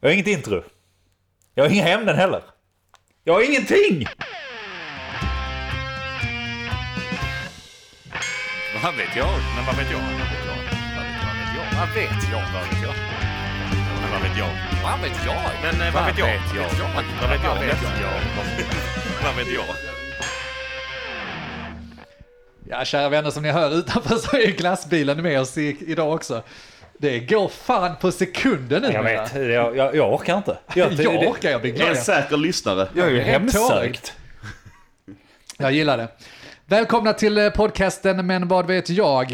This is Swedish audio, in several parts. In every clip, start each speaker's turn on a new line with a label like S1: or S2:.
S1: Jag har inget intro. Jag har inga ämnen heller. Jag har ingenting!
S2: Vad vet jag? Men vad vet jag? Vad vet jag? Vad vet jag? Vad vet jag? Men vad vet jag? Vad vet jag? Men eh, vad vet jag? Vad vet jag? Vad vet jag? Vad vet jag?
S3: Ja, kära vänner, som ni hör utanför så är ju glassbilen med oss i, idag också. Det går fan på sekunden nu.
S1: Jag vet, jag, jag, jag orkar inte.
S3: Jag orkar, jag blir glad.
S2: En säker lyssnare.
S1: Jag är ju
S3: Jag är helt
S1: hemsökt.
S3: Jag gillar det. Välkomna till eh, podcasten Men vad vet jag?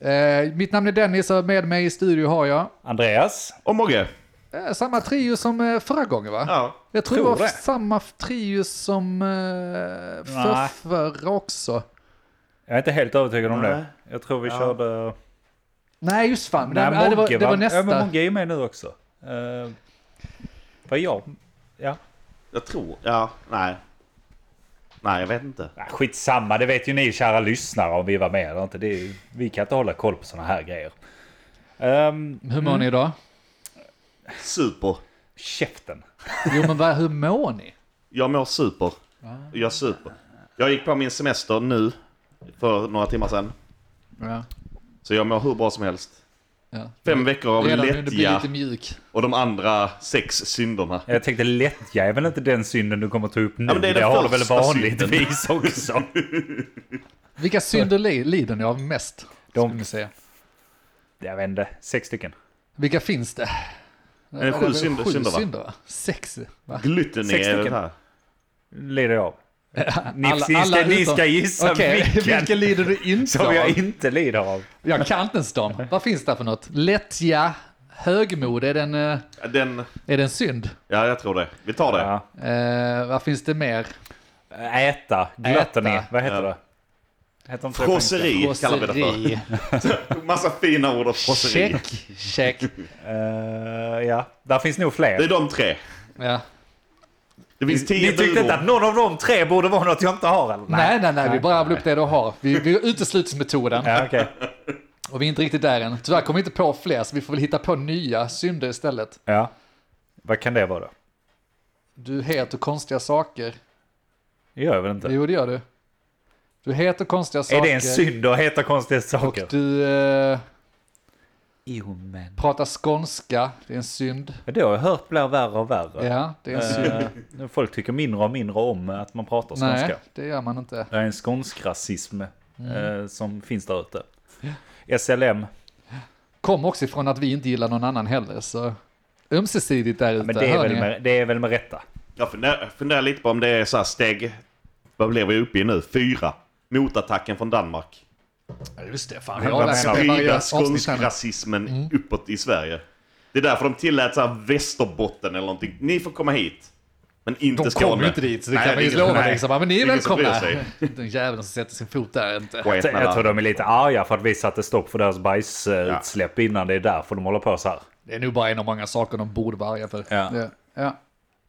S3: Eh, mitt namn är Dennis och med mig i studio har jag
S1: Andreas,
S2: Och Mogge.
S3: eh, samma trio som eh, förra gången va?
S2: Ja.
S3: jag tror det
S1: tror
S3: var
S1: det.
S3: samma trio som eh, för
S1: Nej.
S3: förra också.
S1: jag är inte helt övertygad om
S2: Nej.
S1: det. Jag tror vi körde...
S3: Nej just fan,
S1: Nej,
S3: det, ja, äh, det, var,
S1: Mogge,
S3: det
S1: va?
S3: var
S1: Ja, men
S3: nästa.
S1: Mogge är med nu också. Uh, vad är jag? Ja.
S2: Jag tror... Ja. Nej. Nej, jag vet inte.
S1: Ah, Skitsamma, det vet ju ni kära lyssnare om vi var med eller inte. Det är, ju- vi kan inte hålla koll på sådana här grejer. Um,
S3: Hur mår ni idag?
S2: Super.
S1: käften.
S3: Jo men vad, hur mår ni?
S2: Jag mår super. Jag super. Jag gick på min semester nu. För några timmar sedan.
S3: Ja.
S2: Så jag mår hur bra som helst.
S3: Ja.
S2: Fem veckor av
S3: Redan nu, du blir
S2: lättja
S3: lite mjuk.
S2: och de andra sex synderna.
S1: Jag tänkte lättja är väl inte den synden du kommer ta upp nu?
S2: Ja, men det
S1: det
S2: är den
S1: har du väl
S2: första
S1: vanligtvis också?
S3: Vilka synder li- lider ni av mest?
S1: De-
S3: Skulle ni säga.
S1: Jag vet inte, sex stycken.
S3: Vilka finns det?
S2: Är det sju synder,
S3: sju
S2: synder va?
S3: synder va? Sex va?
S2: Glutten
S1: Sex
S2: är det
S1: stycken.
S2: här.
S1: Lider jag av. Ni,
S3: Alla-
S1: ni,
S3: alla
S1: ska, ni
S3: utom-
S1: ska gissa
S3: Okej,
S1: vilken,
S3: vilken lider du inte
S1: som jag
S3: av?
S1: inte lider av.
S3: Jag kan inte ens dem. Vad finns det för något? Lättja, högmod, är det en, eh,
S2: Den...
S3: är det en synd?
S2: Ja, jag tror det. Vi tar det.
S1: Ja.
S3: Eh, vad finns det mer?
S1: Äta, gluttony,
S3: Äta.
S1: vad heter
S2: Ja.
S1: det? Heter inte det på engelska?
S2: Frosseri kallar vi det för.
S3: Frosseri.
S2: Massa fina ord och frosseri.
S3: Check, check.
S1: Eh, ja, där finns nog fler.
S2: Det är de tre.
S3: Ja.
S2: Det finns tio
S1: Ni tyckte inte
S2: budord.
S1: att någon av de tre borde vara något jag inte har eller?
S3: Nej, nej, nej, vi bara rabblar upp det du har. Vi, vi utesluter metoden.
S1: Ja, okej.
S3: Och vi är inte riktigt där än. Tyvärr kommer vi inte på fler, så vi får väl hitta på nya synder istället.
S1: ja. Vad kan det vara då?
S3: Du heter konstiga saker.
S1: Det gör jag väl inte?
S3: Jo, det gör du. Du heter konstiga saker.
S1: Är det en synd att heta konstiga
S3: Och
S1: saker?
S3: du eh,
S1: Jo, men.
S3: pratar skånska. Det är en synd.
S1: Det har jag hört blir värre och värre.
S3: Ja, det är en synd.
S1: Eh, folk tycker mindre och mindre om att man pratar skånska.
S3: Nej, Mm. det gör man inte.
S1: Det är en skånsk rasism eh, som finns där ute. SLM.
S3: Kom också ifrån att vi inte gillar någon annan heller, så ömsesidigt där ute.
S1: Men det är,
S3: hör
S1: väl
S3: ni?
S1: med, det är väl med rätta.
S2: Jag funderar, funderar lite på om det är så här steg... Vad blev vi uppe i nu? Fyra. Motattacken från Danmark.
S3: Ja, Just det, fan.
S1: Men
S3: Jag
S1: vad
S3: har lärt mig varje
S2: Sprida
S3: avsnitt här nu. Mm.
S2: skånskrasismen uppåt i Sverige. Det är därför de tillät så här Västerbotten eller någonting. Ni får komma hit. Men inte
S3: De
S2: Skåne.
S3: kommer ju inte dit, så det
S2: Nej,
S3: kan man ju
S2: ingen-
S3: lova.
S2: nej.
S3: Liksom. Ja, Men ni är
S2: Ingen som bryr
S3: välkomna.
S2: sig.
S3: Den jäveln som sätter sin fot där är inte.
S2: Sketna
S1: Jag
S2: land.
S1: tror de är lite arga för att vi satte stopp för deras bajsutsläpp innan. Det är därför de håller på så här.
S3: Det är nog bara en av många saker de borde vara arga för.
S1: Ja.
S3: Det, ja.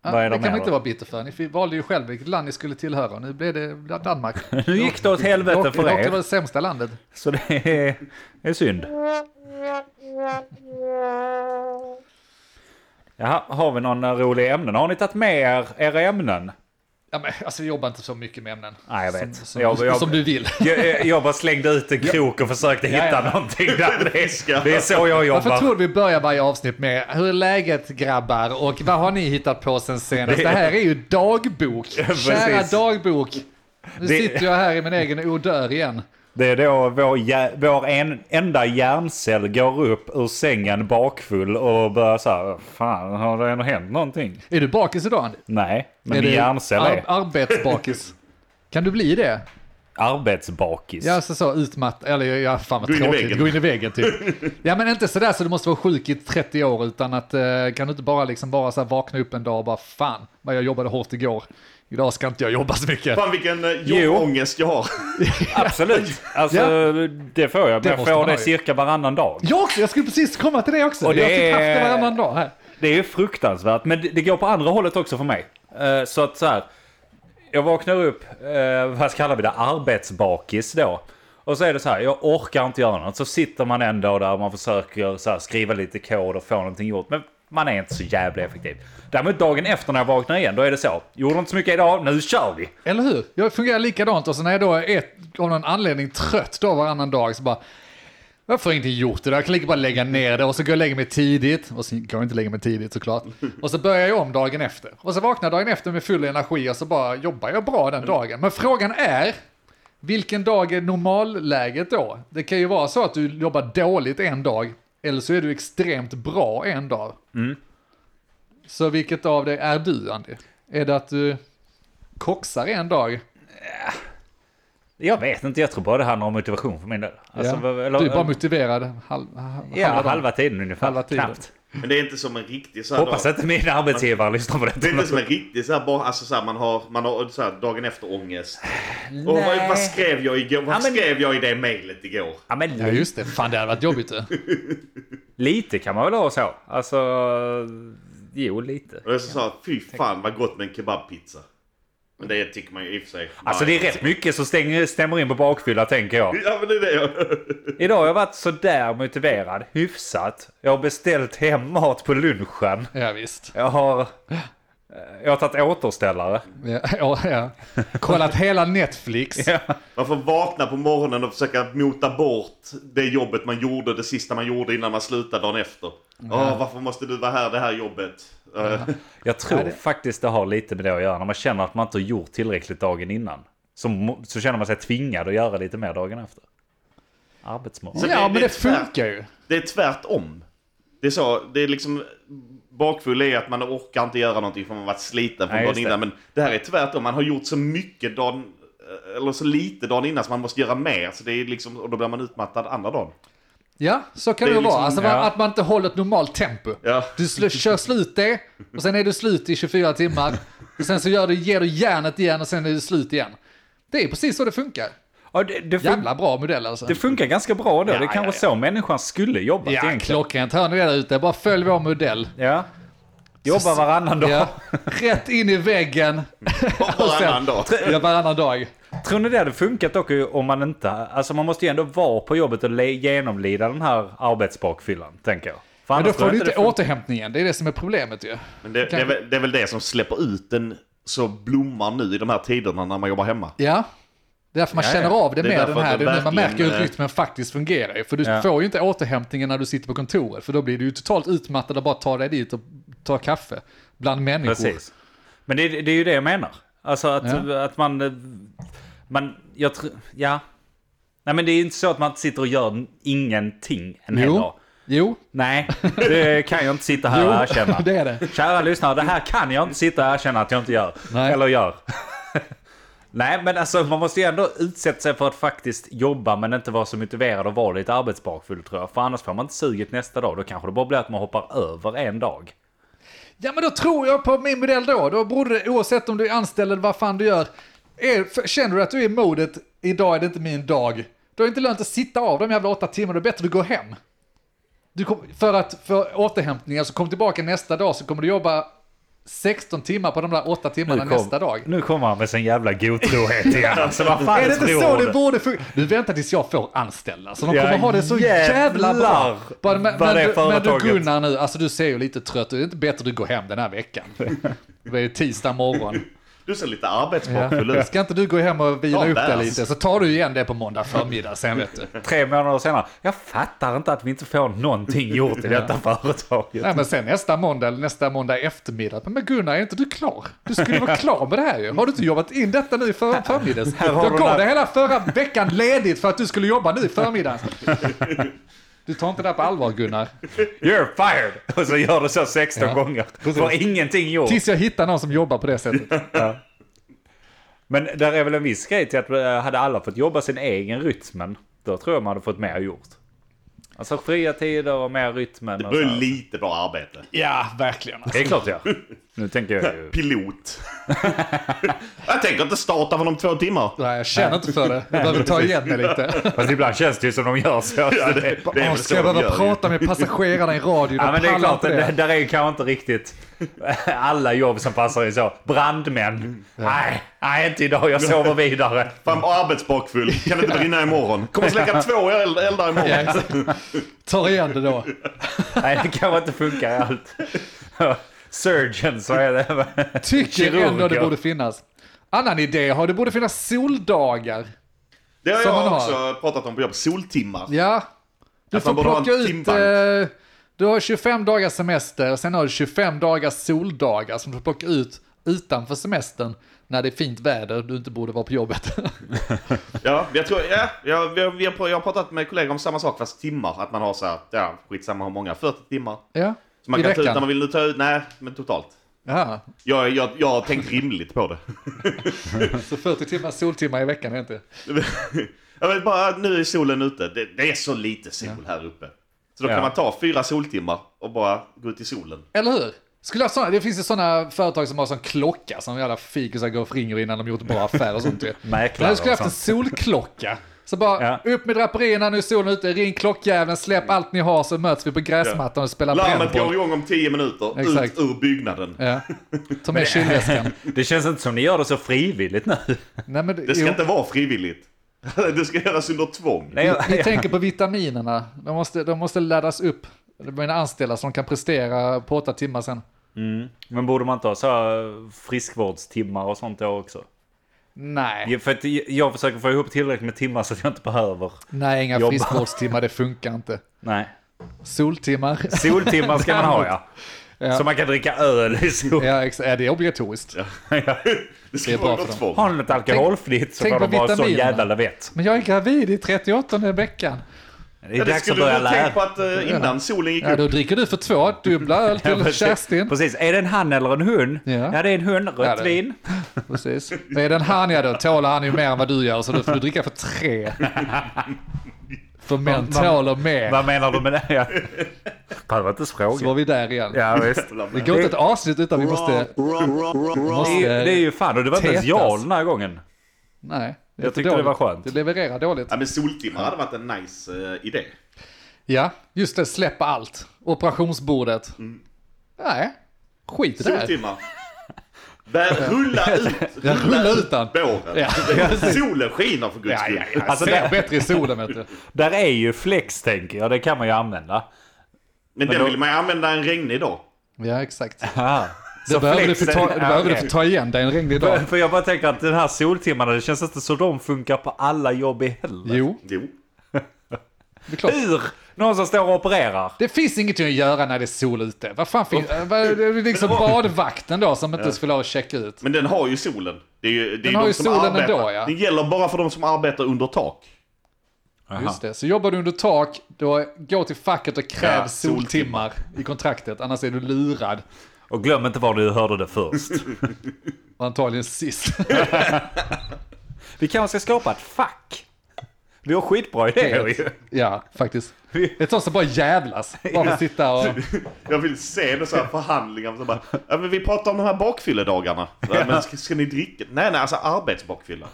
S3: Ja,
S1: Vad är de
S3: det kan
S1: mer
S3: man inte
S1: då?
S3: vara bitter för. Ni fi- valde ju själv vilket land ni skulle tillhöra och nu blev det Danmark.
S1: Nu gick det åt helvete
S3: Dock-
S1: för
S3: dock det var
S1: er.
S3: det sämsta landet.
S1: Så det är, det är synd. Jaha, har vi någon eh, rolig ämnen? Har ni tagit med er era ämnen?
S3: Ja, men, alltså, vi jobbar inte så mycket med ämnen.
S1: Nej, jag vet.
S3: Som, som,
S1: jag, jag,
S3: som du vill.
S1: jag, jag bara slängde ut en krok och försökte hitta
S3: ja.
S1: någonting där. Det är, det är så jag
S3: Varför
S1: jobbar.
S3: tror du vi börjar varje avsnitt med hur är läget grabbar och vad har ni hittat på sen senast? Det här är ju dagbok.
S1: precis.
S3: Kära dagbok. Nu
S1: Det-
S3: sitter jag här i min egen odör igen.
S1: Det är då vår, hjär- vår en, enda hjärncell går upp ur sängen bakfull och börjar så här. Fan, har det ändå hänt någonting?
S3: Är du bakis idag? Andy?
S1: Nej, men
S3: är
S1: min
S3: du
S1: hjärncell
S3: ar-
S1: är
S3: arbetsbakis? kan du bli det?
S1: arbetsbakis.
S3: Ja, så, så utmattad. Eller ja, fan vad
S2: Gå in i
S3: tråkigt.
S2: väggen.
S3: Gå in i väggen typ. ja, men inte sådär så du måste vara sjuk i 30 år utan att eh, kan du inte bara liksom bara så här vakna upp en dag och bara fan vad jag jobbade hårt igår. Idag ska inte jag jobba så mycket.
S2: Fan vilken eh,
S1: Jo.
S2: jobbångest jag har.
S1: Absolut. Alltså, det får jag. Men
S3: Det
S1: jag
S3: måste
S1: får
S3: man
S1: det
S3: ha ju.
S1: cirka varannan dag.
S3: Jag också, jag skulle precis komma till det också.
S1: Och det
S3: jag har typ haft det
S1: är-
S3: varannan dag här.
S1: Det är ju fruktansvärt, men det, det går på andra hållet också för mig. Eh, så att så här, jag vaknar upp, eh, vad kallar vi det, arbetsbakis då. Och så är det så här, jag orkar inte göra något. Så sitter man en dag där och man försöker så här, skriva lite kod och få någonting gjort. Men Man är inte så jävla effektiv. Däremot dagen efter när jag vaknar igen, då är det så. Gjorde inte så mycket idag, nu kör vi!
S3: Eller hur? Jag fungerar likadant och så när jag då är ett, av någon anledning trött då varannan dag så bara varför har jag inte gjort det? där? Jag kan lika bara lägga ner det och så går jag och lägger mig tidigt. Och sen kan jag inte lägga mig tidigt såklart. Och så börjar jag om dagen efter. Och så vaknar jag dagen efter med full energi och så bara jobbar jag bra den dagen. Men frågan är, vilken dag är normalläget då? Det kan ju vara så att du jobbar dåligt en dag, eller så är du extremt bra en dag. Så vilket av det är du, Andy? Är det att du koxar en dag?
S1: Jag vet inte, jag tror bara det handlar om motivation för min del. Alltså,
S3: Ja.
S1: vad- eller-
S3: du är bara motiverad halv, halv,
S1: Ja, halva,
S3: dagen.
S1: tiden ungefär.
S3: Halva tiden.
S1: Knappt.
S4: Men det är inte som en riktig så här
S1: Hoppas
S4: dag.
S1: att inte min arbetsgivare lyssnar på
S4: Det är inte
S1: detta.
S4: som en riktig så här, bara, alltså så här, man har, man har så här, dagen efter ångest. Och vad, vad skrev jag igår? Vad
S1: Ja, men-
S4: skrev jag i det mejlet igår?
S1: Ja, men
S3: Ja just det, fan det hade varit jobbigt du.
S1: lite kan man väl ha så. Alltså, jo lite.
S4: Och jag så sa, fy fan vad gott med en kebabpizza. Men det tycker man ju i och för sig.
S1: Alltså det
S4: Nej.
S1: är rätt mycket som stänger, stämmer in på bakfylla tänker jag.
S4: Ja men det är det jag...
S1: Idag har jag varit sådär motiverad, hyfsat. Jag har beställt hem mat på lunchen.
S3: Ja visst.
S1: Jag har... eh, Jag har tagit återställare.
S3: Ja, ja, ja. Kollat hela Netflix.
S4: Man får vakna på morgonen och försöka mota bort det jobbet man gjorde, det sista man gjorde innan man slutade dagen efter. Åh, varför måste du vara här, det här jobbet? Eh,
S1: Jag tror faktiskt det har lite med det att göra. När man känner att man inte har gjort tillräckligt dagen innan. Så, må- så känner man sig tvingad att göra lite mer dagen efter. Arbetsmoral.
S4: Så det-
S3: Ja men
S4: det
S3: det
S4: är tvärt-
S3: funkar ju.
S4: Det är tvärtom. Det är så, det är liksom... Bakfull är att man orkar inte göra någonting för man har varit sliten från
S1: Nej,
S4: dagen
S1: just det.
S4: innan. Men det här är tvärtom, man har gjort så mycket dagen... Eller så lite dagen innan så man måste göra mer. Så det är liksom, och då blir man utmattad andra dagen.
S3: Ja, så kan
S4: Det
S3: det,
S4: är
S3: ju vara.
S4: liksom-
S3: Alltså,
S1: ja.
S3: Att man inte håller ett normalt tempo.
S4: Ja.
S3: Du sl- kör slut det, och sen är du slut i 24 timmar. Och sen så gör du, ger du järnet igen och sen är du slut igen. Det är precis så det funkar.
S1: Ja, det, det, fun-
S3: Jävla bra modell alltså.
S1: det funkar ganska bra då. det är
S3: ja,
S1: kanske så människan skulle jobba
S3: ja,
S1: egentligen.
S3: klockrent. Hör ni det där ute? Bara följ vår modell.
S1: Ja. Jobba varannan dag.
S3: Ja. Rätt in i väggen. Och
S4: Varannan dag.
S3: Ja, varannan dag.
S1: Tror ni det hade funkat dock om man inte... Alltså man måste ju ändå vara på jobbet och le- genomlida den här arbetsbakfyllan, tänker jag. För
S3: Men då
S1: annars tror
S3: får
S1: jag
S3: du inte
S1: det funkar.
S3: återhämtningen. Det är det som är problemet ju.
S4: Men det, det, är, väl- det är väl det som släpper ut den så blommar nu i de här tiderna när man jobbar hemma.
S3: Ja. Det är därför man
S1: Ja, ja.
S3: känner av det,
S4: Det är
S3: mer den
S4: därför
S3: här.
S4: att det
S3: Det är nu man
S4: verkligen
S3: märker hur
S4: är-
S3: rytmen faktiskt fungerar. ju. För du
S1: eh, Ja.
S3: får ju inte återhämtningen när du sitter på kontoret. För då blir du ju totalt utmattad och bara tar dig dit och tar kaffe. Bland människor.
S1: Precis. Men det, det är ju det jag menar. Alltså att,
S3: Ja.
S1: att man... eh, man jag tror... Ja. Nej men det är ju inte så att man inte sitter och gör ingenting en hel dag.
S3: Jo. Jo.
S1: Nej, det kan jag inte sitta här
S3: Jo,
S1: och erkänna.
S3: det är det.
S1: Kära lyssnare, det här kan jag inte sitta och erkänna att jag inte gör.
S3: Nej.
S1: Eller gör. Nej, men alltså man måste ju ändå utsätta sig för att faktiskt jobba men inte vara så motiverad och vara lite arbetsbakfull tror jag. För annars får man inte suget nästa dag. Då kanske det bara blir att man hoppar över en dag.
S3: Ja men då tror jag på min modell då. Då borde det, oavsett om du är anställd eller vad fan du gör. Är, för, känner du att du är i modet, idag är det inte min dag. Då är det inte lönt att sitta av de jävla åtta timmarna. Det är bättre att du går hem. Du kom, för att för återhämtningen, så kom tillbaka nästa dag så kommer du jobba 16 timmar på de där åtta timmarna
S1: kom-
S3: nästa dag.
S1: Nu kommer han med sin jävla godtrohet igen. Alltså vad fan
S3: Är det inte
S1: tror
S3: så
S1: du?
S3: det borde funka? Nu vänta tills jag får anställda. Så de
S1: Ja,
S3: kommer ha det så jävla
S1: jävlar
S3: bra. Bara, men,
S1: vad
S3: men,
S1: det
S3: du, men du
S1: företaget-
S3: Gunnar nu, alltså du ser ju lite trött ut. Det är inte bättre att du går hem den här veckan. Det är ju tisdag morgon.
S4: Du ser lite arbetsbakfull ut.
S3: Ska inte du gå hem och vila
S4: Ja,
S3: upp dig
S4: bärs.
S3: lite så tar du igen det på måndag förmiddag sen vet du.
S1: Tre månader senare. Jag fattar inte att vi inte får någonting gjort i detta företaget.
S3: Nej men sen nästa måndag eller nästa måndag eftermiddag. Men Gunnar är inte du klar? Du skulle vara klar med det här ju. Har du inte jobbat in detta nu i för, förmiddags?
S1: Här har
S3: Jag
S1: du
S3: gav
S1: den.
S3: dig hela förra veckan ledigt för att du skulle jobba nu i förmiddags. Du tar inte det här på allvar Gunnar.
S1: You're fired! Och så gör du så 16
S3: Ja,
S1: gånger.
S3: precis.
S1: Får ingenting gjort.
S3: Tills jag hittar någon som jobbar på det sättet.
S1: Men där är väl en viss grej till att eh, hade alla fått jobba sin egen rytmen, då tror jag man hade fått mer gjort. Alltså fria tider och mer rytmen.
S4: Det
S1: och
S4: blir
S1: så här.
S4: lite bra arbete.
S3: Ja, verkligen.
S1: det är klart ja. Nu tänker jag ju...
S4: Pilot. jag tänker inte starta för om två timmar.
S3: Nej, jag känner inte för det. Jag behöver ta igen mig lite.
S1: Fast ibland känns det ju som de gör så.
S4: Ja, det, det är
S3: Åh,
S4: väl så
S3: ska jag
S4: de
S3: behöva
S4: gör.
S3: prata med passagerarna i radio?
S1: Ja men det är klart,
S3: det.
S1: det. där är ju kanske inte riktigt alla jobb som passar i så. Brandmän. Nej, nej inte idag, jag sover vidare.
S4: Fan, arbetsbakfull. Kan det inte brinna imorgon? Kommer släcka två eld- eldar imorgon.
S3: Ja, exakt. Tar igen det då.
S1: Nej det kanske inte funkar i allt. Surgeon, så är det.
S3: Tycker
S1: Kirurger.
S3: ändå det borde finnas. Annan idé har, det borde finnas soldagar.
S4: Det har
S3: Som man
S4: jag
S3: har.
S4: också pratat om på jobb. Soltimmar.
S3: Ja. Du
S4: Att
S3: får
S4: man borde ha
S3: plocka
S4: en
S3: ut...
S4: timbank.
S3: eh, Du har 25 dagars semester och sen har du 25 dagars soldagar som du får plocka ut utanför semestern när det är fint väder du inte borde vara på jobbet.
S4: Ja, jag tror, ja, jag, vi har- vi har, pr- jag har pratat med kollegor om samma sak fast timmar. Att man har så här, ja, skitsamma hur många, 40 timmar.
S3: ja,
S4: Så man
S3: i
S4: kan ta ut när
S3: veckan.
S4: man vill. Nu ta ut, nej, men totalt.
S3: Ja,
S4: Jag, jag, jag har tänkt rimligt på det.
S3: så 40 timmar soltimmar i veckan är inte.
S4: Jag vet bara, nu är solen ute. Det, det är så lite sol här uppe. Så då
S1: Ja.
S4: kan man ta fyra soltimmar och bara gå ut i solen.
S3: Eller hur? Skulle jag såna, det finns ju sådana företag som har sån klocka som jävla fikusar går och ringer innan de gjort en bra affär och sånt ju.
S1: Mäklare
S3: Men jag
S1: och
S3: skulle haft en
S1: sånt.
S3: solklocka. Så bara
S1: Ja.
S3: upp med draperierna, nu är solen ute, ring klockjäveln, släpp allt ni har så möts vi på gräsmattan och spelar
S4: Larmet går
S3: brännboll.
S4: igång om 10 minuter,
S3: Exakt.
S4: ut ur byggnaden.
S3: Ja. Ta med kylväskan.
S1: Det känns inte som ni gör det så frivilligt nu.
S3: Nej, men,
S4: Det ska
S3: jo.
S4: inte vara frivilligt. Det ska göras under tvång.
S1: Nej, jag,
S3: Ni tänker på vitaminerna. De måste, de måste laddas upp. Mina anställda som kan prestera på åtta timmar sen.
S1: men borde man inte ha så här friskvårdstimmar och sånt då också?
S3: Nej,
S1: Ja, För att jag försöker få ihop tillräckligt med timmar så att jag inte behöver.
S3: nej inga
S1: Jobba.
S3: friskvårdstimmar, det funkar inte.
S1: Nej.
S3: Soltimmar.
S1: Soltimmar ska man ha ja.
S3: Ja.
S1: Så man kan dricka öl i sol.
S3: Ja, ex- ja, det är obligatoriskt.
S4: Det
S3: Det
S4: ska
S3: är bra
S4: vara under
S3: för dem.
S4: tvång.
S1: Har ni något alkoholfritt så
S3: tänk
S1: får de
S3: på
S1: bara sån
S3: vitaminerna.
S1: jävla lavett.
S3: Men jag är gravid i 38 veckan.
S1: Det
S4: Ja,
S1: är
S4: det
S1: dags att
S4: skulle du
S1: börja
S4: ha tänkt på
S1: lära.
S4: att eh, innan solen gick
S3: Ja,
S4: upp.
S3: då dricker du för två dubbla öl
S1: Ja,
S3: till Kerstin.
S1: Precis. Är det en han eller en hund?
S3: Ja.
S1: det är en hund. Rött
S3: Ja, det-
S1: vin.
S3: Precis. Men är den han ja då tålar han ju mer än vad du gör så då får du dricka för tre. För män
S1: Vad- vad-
S3: tåler mer.
S1: Vad menar du med det? Ja. Fan, det var inte ens
S3: Så
S1: fråga.
S3: var vi där igen.
S1: Ja, visst.
S3: Det går inte ett avsnitt utan vi måste... vi
S1: Det är, ju,
S3: måste
S1: det är ju fan, och det var inte ens
S3: Tetas.
S1: jag den här gången.
S3: Nej. det är
S1: Jag
S3: för
S1: tyckte det var
S3: dåligt.
S1: skönt.
S3: Det levererar dåligt.
S4: Ja, men soltimmar hade varit en nice eh, idé.
S3: Ja, just det. Släppa allt. Operationsbordet.
S1: Mm.
S3: Nej, skit i det. här.
S4: Soltimmar. Väl, rulla ut,
S3: Ja, rulla ut den.
S4: båren. Alltså,
S3: Ja,
S4: Solen skiner för guds
S3: ja,
S4: skull.
S3: ja, ja.
S1: Alltså,
S3: Alltså,
S1: det-
S3: det bättre i solen vet du.
S1: Där är ju flex, tänker jag. Det kan man ju använda.
S4: Men
S1: då-
S4: den vill man ju använda en regnig dag.
S3: Ja, exakt.
S1: Så
S3: Det behöver du få
S1: flexen-
S3: ta,
S1: ja,
S3: det behöver du
S1: okej.
S3: få ta igen. Det är en regnig dag.
S1: För- För jag bara tänker att den här soltimmarna, det känns inte så de funkar på alla jobb i heller.
S3: Jo,
S4: Jo.
S3: det är klart.
S1: Hur? Någon som står och opererar.
S3: Det finns ingenting att göra när det är sol ute. Vad fan finns... äh, vad- Det är liksom badvakten då som inte skulle ha att checka ut.
S4: Men den har ju solen. Det är ju, det är
S3: har
S4: de
S3: ju
S4: som
S3: solen
S4: arbetar.
S3: ändå, ja.
S4: Den gäller bara för de som arbetar under tak.
S3: Just det. Så jobbar du under tak, då gå till facket och kräv
S4: Ja,
S3: soltimmar i kontraktet. Annars är du lurad.
S1: Och glöm inte var du hörde det först.
S3: Och antagligen sist.
S1: Vi kanske ska skapa ett fack. Vi har skitbra idéer ju.
S3: ja, faktiskt. Ett sånt som bara jävlas. Bara ja. sitta och...
S4: Jag vill se det så här förhandlingar. Så bara, ja, men vi pratar om de här bakfylledagarna. Ja. Men ska, ska ni dricka? Nej, nej, alltså arbetsbakfylla.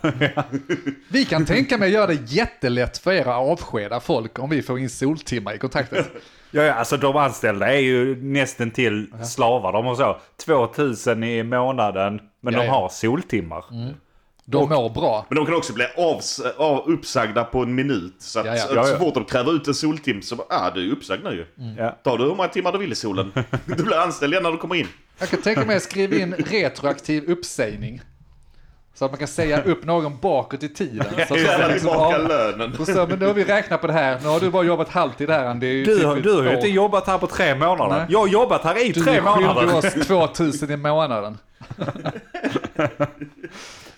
S3: Vi kan tänka mig att göra det jättelätt för er att avskeda folk om vi får in soltimmar i kontraktet.
S1: Ja, ja, alltså de anställda är ju nästan till slavar. De har så 2000 i månaden, men
S3: Ja, Mm.
S1: de
S3: ja.
S1: har soltimmar.
S3: De mår bra.
S4: Men de kan också bli avs, av, uppsagda på en minut. Så att
S3: Ja, ja. Mm.
S4: så-
S1: Ja, ja.
S4: så fort de kräver ut en soltim så bara, ah, du är uppsagd nu ju.
S1: Ja.
S4: Ta du hur många timmar du vill i solen. Du blir anställd igen när du kommer in.
S3: Jag kan tänka mig att skriva in retroaktiv uppsägning. Så att man kan säga upp någon bakåt i tiden. Så att
S4: Så
S3: man
S4: tjänar
S3: liksom
S4: tillbaka
S3: av-
S4: lönen.
S3: Och så, men nu har vi räknat på det här. Nu har du bara jobbat halvtid här Andy.
S1: Du, har- du har ju
S3: Två.
S1: inte jobbat här på tre månader.
S3: Nej.
S1: Jag har jobbat här i
S3: Du
S1: tre
S3: är skyldig
S1: månader.
S3: oss 2000 i månaden.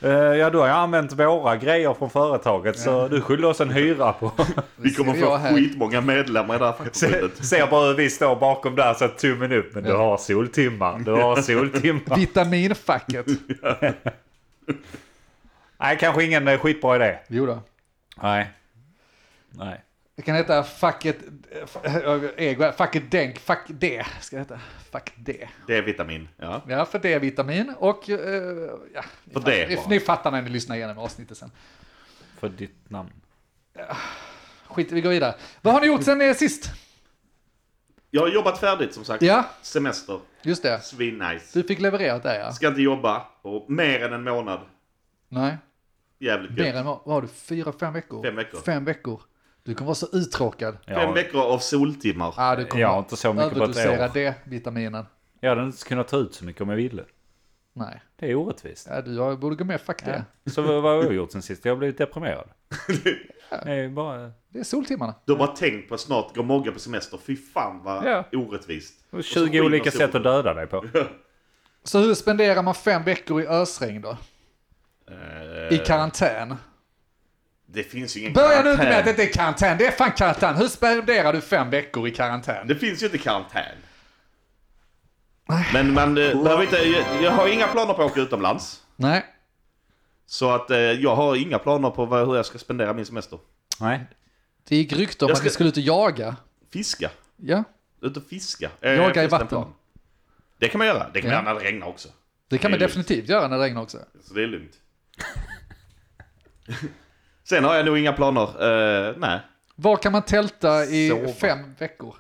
S1: Eh, ja, du har ju använt våra grejer från företaget, så du skyller oss en hyra på.
S4: Vi kommer
S3: ser jag
S4: få
S3: här.
S4: skitmånga medlemmar i det här fackförbundet.
S1: Ser bara hur vi står bakom där, så tummen upp. Men du har soltimmar, du har soltimmar.
S3: Vitaminfacket.
S1: Nej, kanske ingen eh, skitbra idé.
S3: Jo då.
S1: Nej. Nej.
S3: Det kan heta eh, facket... Ego, facket denk, fack D. Ska det heta. Fack D.
S4: D-vitamin. Ja.
S3: Ja, för D-vitamin och... eh, ja, ni
S4: För
S3: fattar-
S4: det
S3: ni,
S4: bara.
S3: ni fattar när ni lyssnar igenom avsnittet sen.
S1: För ditt namn.
S3: Skit, vi går vidare. Vad har ni gjort sen eh, sist?
S4: Jag har jobbat färdigt som sagt.
S3: Ja.
S4: Semester.
S3: Just det.
S4: Svinnice.
S3: Du fick levererat det ja.
S4: Ska inte jobba på mer än en månad.
S3: Nej.
S4: Jävligt
S3: Mer
S4: gött.
S3: än vad vad har du? Fyra, fem veckor?
S4: Fem veckor.
S3: Fem veckor. Du kommer vara så uttråkad.
S1: Jag,
S4: Fem veckor av soltimmar.
S3: Ja, du kommer
S1: jag har inte så mycket på ett
S3: överdosera
S1: år.
S3: D-vitaminen.
S1: Jag hade inte kunnat ta ut så mycket om jag ville.
S3: Nej.
S1: Det är orättvist.
S3: Ja, du har- borde gå med fuck det.
S1: Så vad vad har jag gjort sen sist? Jag har blivit deprimerad. Det är bara...
S3: Det är soltimmarna.
S4: Du har bara tänkt på att snart går Mogge på semester. Fy fan vad
S1: Ja.
S4: orättvist. Och så går vi
S1: 20
S4: in
S1: olika
S4: och sol.
S1: sätt att döda dig på.
S3: Så hur spenderar man fem veckor i ösregn då? I
S4: Eh,
S3: karantän?
S4: Det finns ju ingen
S3: Börja nu inte med att
S4: karantän.
S3: det inte är karantän, det är fan karantän. Hur spenderar du fem veckor i karantän?
S4: Det finns ju inte karantän. Men man eh, behöver inte... Jag, jag har inga planer på att åka utomlands.
S3: Nej.
S4: Så att eh, jag har inga planer på vad, hur jag ska spendera min semester.
S1: Nej.
S3: Det gick rykte om
S4: Jag
S3: att
S4: ska-
S3: ni skulle ut och jaga.
S4: Fiska.
S3: Ja,
S4: Ut och fiska. Eh,
S3: Jaga i
S4: finns det en
S3: vatten.
S4: plan? Det kan man göra. Det kan
S3: Ja.
S4: man göra när det regnar också.
S3: det kan man
S4: Det är
S3: definitivt göra när det regnar också.
S4: Så det är lugnt. Sen har jag nog inga planer. Eh, nej.
S3: Var kan man tälta i
S4: Sova.
S3: fem veckor?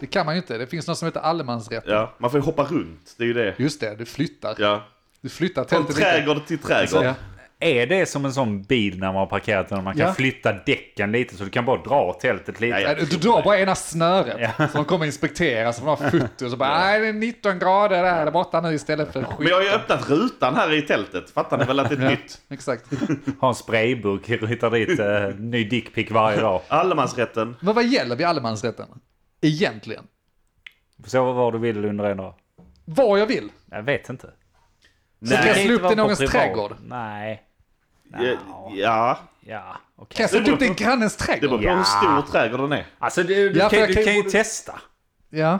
S3: Det kan man ju inte, det finns något som heter allemansrätt.
S4: Ja, man får ju hoppa runt. Det är ju det.
S3: Just det, du flyttar.
S4: Ja.
S3: Du flyttar
S4: Från
S3: tältet lite.
S4: trädgård till trädgård.
S3: Ja.
S1: Är det som en sån bil när man har parkerat den? Man kan
S3: Ja.
S1: flytta däcken lite så du kan bara dra tältet lite.
S4: Ja, ja.
S3: Du drar bara ena snöret, så de kommer inspektera, så får de ha foto, så bara nej det är 19 grader där, där borta nu istället för
S4: Men jag har ju
S3: skit.
S4: öppnat rutan här i tältet. Fattar ni väl att det är nytt?
S3: Exakt.
S1: Ha en sprayburk, hitta dit eh, ny dickpic varje dag.
S4: Allemansrätten.
S3: Men vad gäller vid allemansrätten? Egentligen?
S1: Sova var du vill under en dag.
S3: Vad jag vill?
S1: Jag vet inte.
S3: Så
S1: Det
S3: kan jag
S1: kan
S3: slå
S1: inte
S3: upp det i
S1: vara på
S3: någons
S1: privat.
S3: trädgård?
S1: Nej.
S4: Ja. ja.
S1: Ja, okej.
S3: Kan jag sätta
S4: beror
S3: upp det i
S4: på-
S3: grannens
S4: Det beror
S3: trädgård?
S4: på hur stor trädgården är.
S1: Alltså du, du,
S3: Ja, för
S1: kan,
S3: jag
S1: du
S3: kan ju
S1: kan ju
S3: både-
S1: testa.
S3: Ja.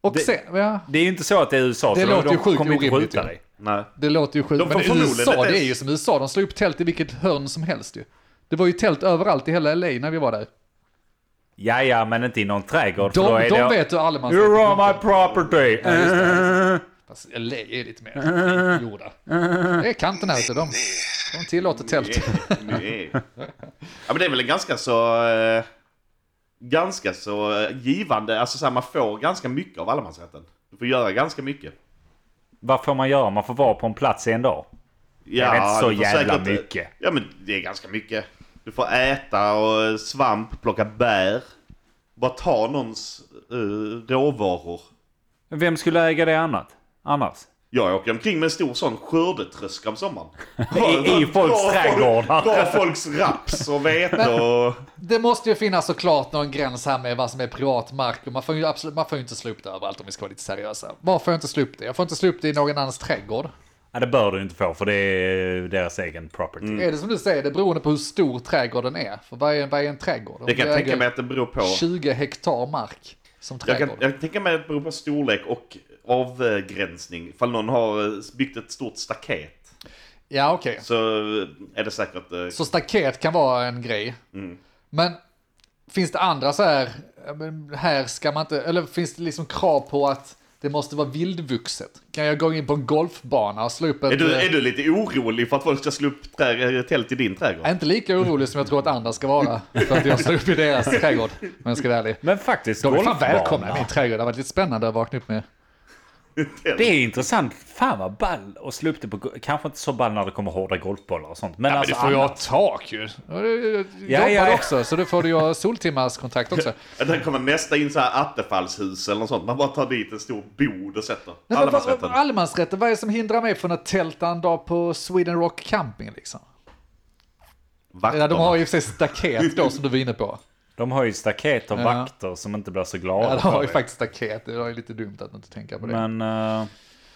S3: Och
S1: Det-
S3: sen, ja.
S1: Det är ju inte så att det är USA
S3: Det
S1: så
S3: låter
S1: de
S3: ju sjukt
S1: kommer inte
S3: orimligt,
S1: skjuta
S3: ju.
S1: dig.
S4: Nej.
S3: Det låter ju sjukt.
S4: De får
S3: Men i
S4: förmodligen
S3: USA,
S4: inte
S3: det är
S4: ens-
S3: ju som USA. De slår upp tält i vilket hörn som helst ju. Det var ju tält överallt i hela LA när vi var där.
S1: Ja, ja, men inte i någon trädgård. för då
S3: De,
S1: är
S3: de
S1: det...
S3: vet hur allemansrätten
S1: You're on my property!
S3: Fast LA är lite mer gjorda. Det är kanten här ute. De, de tillåter tält.
S4: Nej. Ja men det är väl en ganska så... Eh, ganska så eh, givande, alltså så här, man får ganska mycket av allemansrätten. Du får göra ganska mycket.
S1: Vad får man göra? Man får vara på en plats i en dag.
S4: Ja,
S1: Det är inte så
S4: du får
S1: jävla mycket.
S4: Ja men det är ganska mycket. Du får äta och eh, svamp, plocka bär. Bara ta någons eh, råvaror.
S1: Vem skulle äga det annat? annars?
S4: Jag åker omkring med en stor sån skördetröska om sommaren.
S1: i folks
S4: Dra folk-
S1: trädgårdar.
S4: Dra folks raps och vete och...
S3: Det måste ju finnas såklart någon gräns här med vad som är privat mark. Och man, får ju absolut, man får ju inte slå upp det överallt om vi ska vara lite seriösa. Var får jag inte slå upp det? Jag får inte slå upp det i någon annans trädgård.
S1: Ja, det bör du inte få för det är deras egen property.
S4: Mm.
S3: Är det som du säger, det är beroende på hur stor trädgården är. För vad är, vad är en trädgård? Om
S4: Det kan
S3: du
S4: jag tänka
S3: äger
S4: mig att det beror på.
S3: 20 hektar mark som
S4: Jag
S3: trädgård.
S4: kan, jag kan tänka mig att det beror på storlek och avgränsning. Ifall någon har eh, byggt ett stort staket
S3: Ja, okej.
S4: så eh, är det säkert... eh,
S3: Så staket kan vara en grej.
S4: Mm.
S3: Men finns det andra så här, ja, men här ska man inte, eller finns det liksom krav på att det måste vara vildvuxet? Kan jag gå in på en golfbana och slå upp ett...
S4: Är du,
S3: eh,
S4: är du lite orolig för att folk ska slå upp trä, eh, tält i din
S3: Jag är
S4: trädgård?
S3: inte lika orolig som jag tror att andra ska vara för att jag slår upp i deras trädgård. Om jag ska vara ärlig.
S1: Men faktiskt,
S3: De är fan
S1: golfbana.
S3: välkomna i min trädgård. Det har varit lite spännande att vakna upp med.
S1: Det är intressant. Fan vad ball och slå upp det på... go- Kanske inte så ball när det kommer hårda golfbollar och sånt. Men
S3: Men
S1: alltså...
S3: du får ju ha
S1: annars-
S3: tak ju. Ja, du
S1: Ja,
S3: jobbar
S1: ja, ja.
S3: också, så då får du ju ha soltimmarskontakt också.
S4: Att det kommer nästa in så här Attefallshus eller något sånt. Man bara tar dit en stor bod och sätter.
S3: Nej, men vad-
S4: Allemansrätten.
S3: Allemansrätten, vad är det som hindrar mig från att tälta en dag på Sweden Rock Camping liksom? Ja, de har
S4: Vakterna.
S3: ju i och för sig staket då som du var inne på.
S1: De har ju staket och
S3: Ja.
S1: vakter som inte blir så glada
S3: Ja, de
S1: för
S3: har ju
S1: det.
S3: faktiskt staket. Det var ju lite dumt att inte tänka på det. Men,
S1: Men... eh,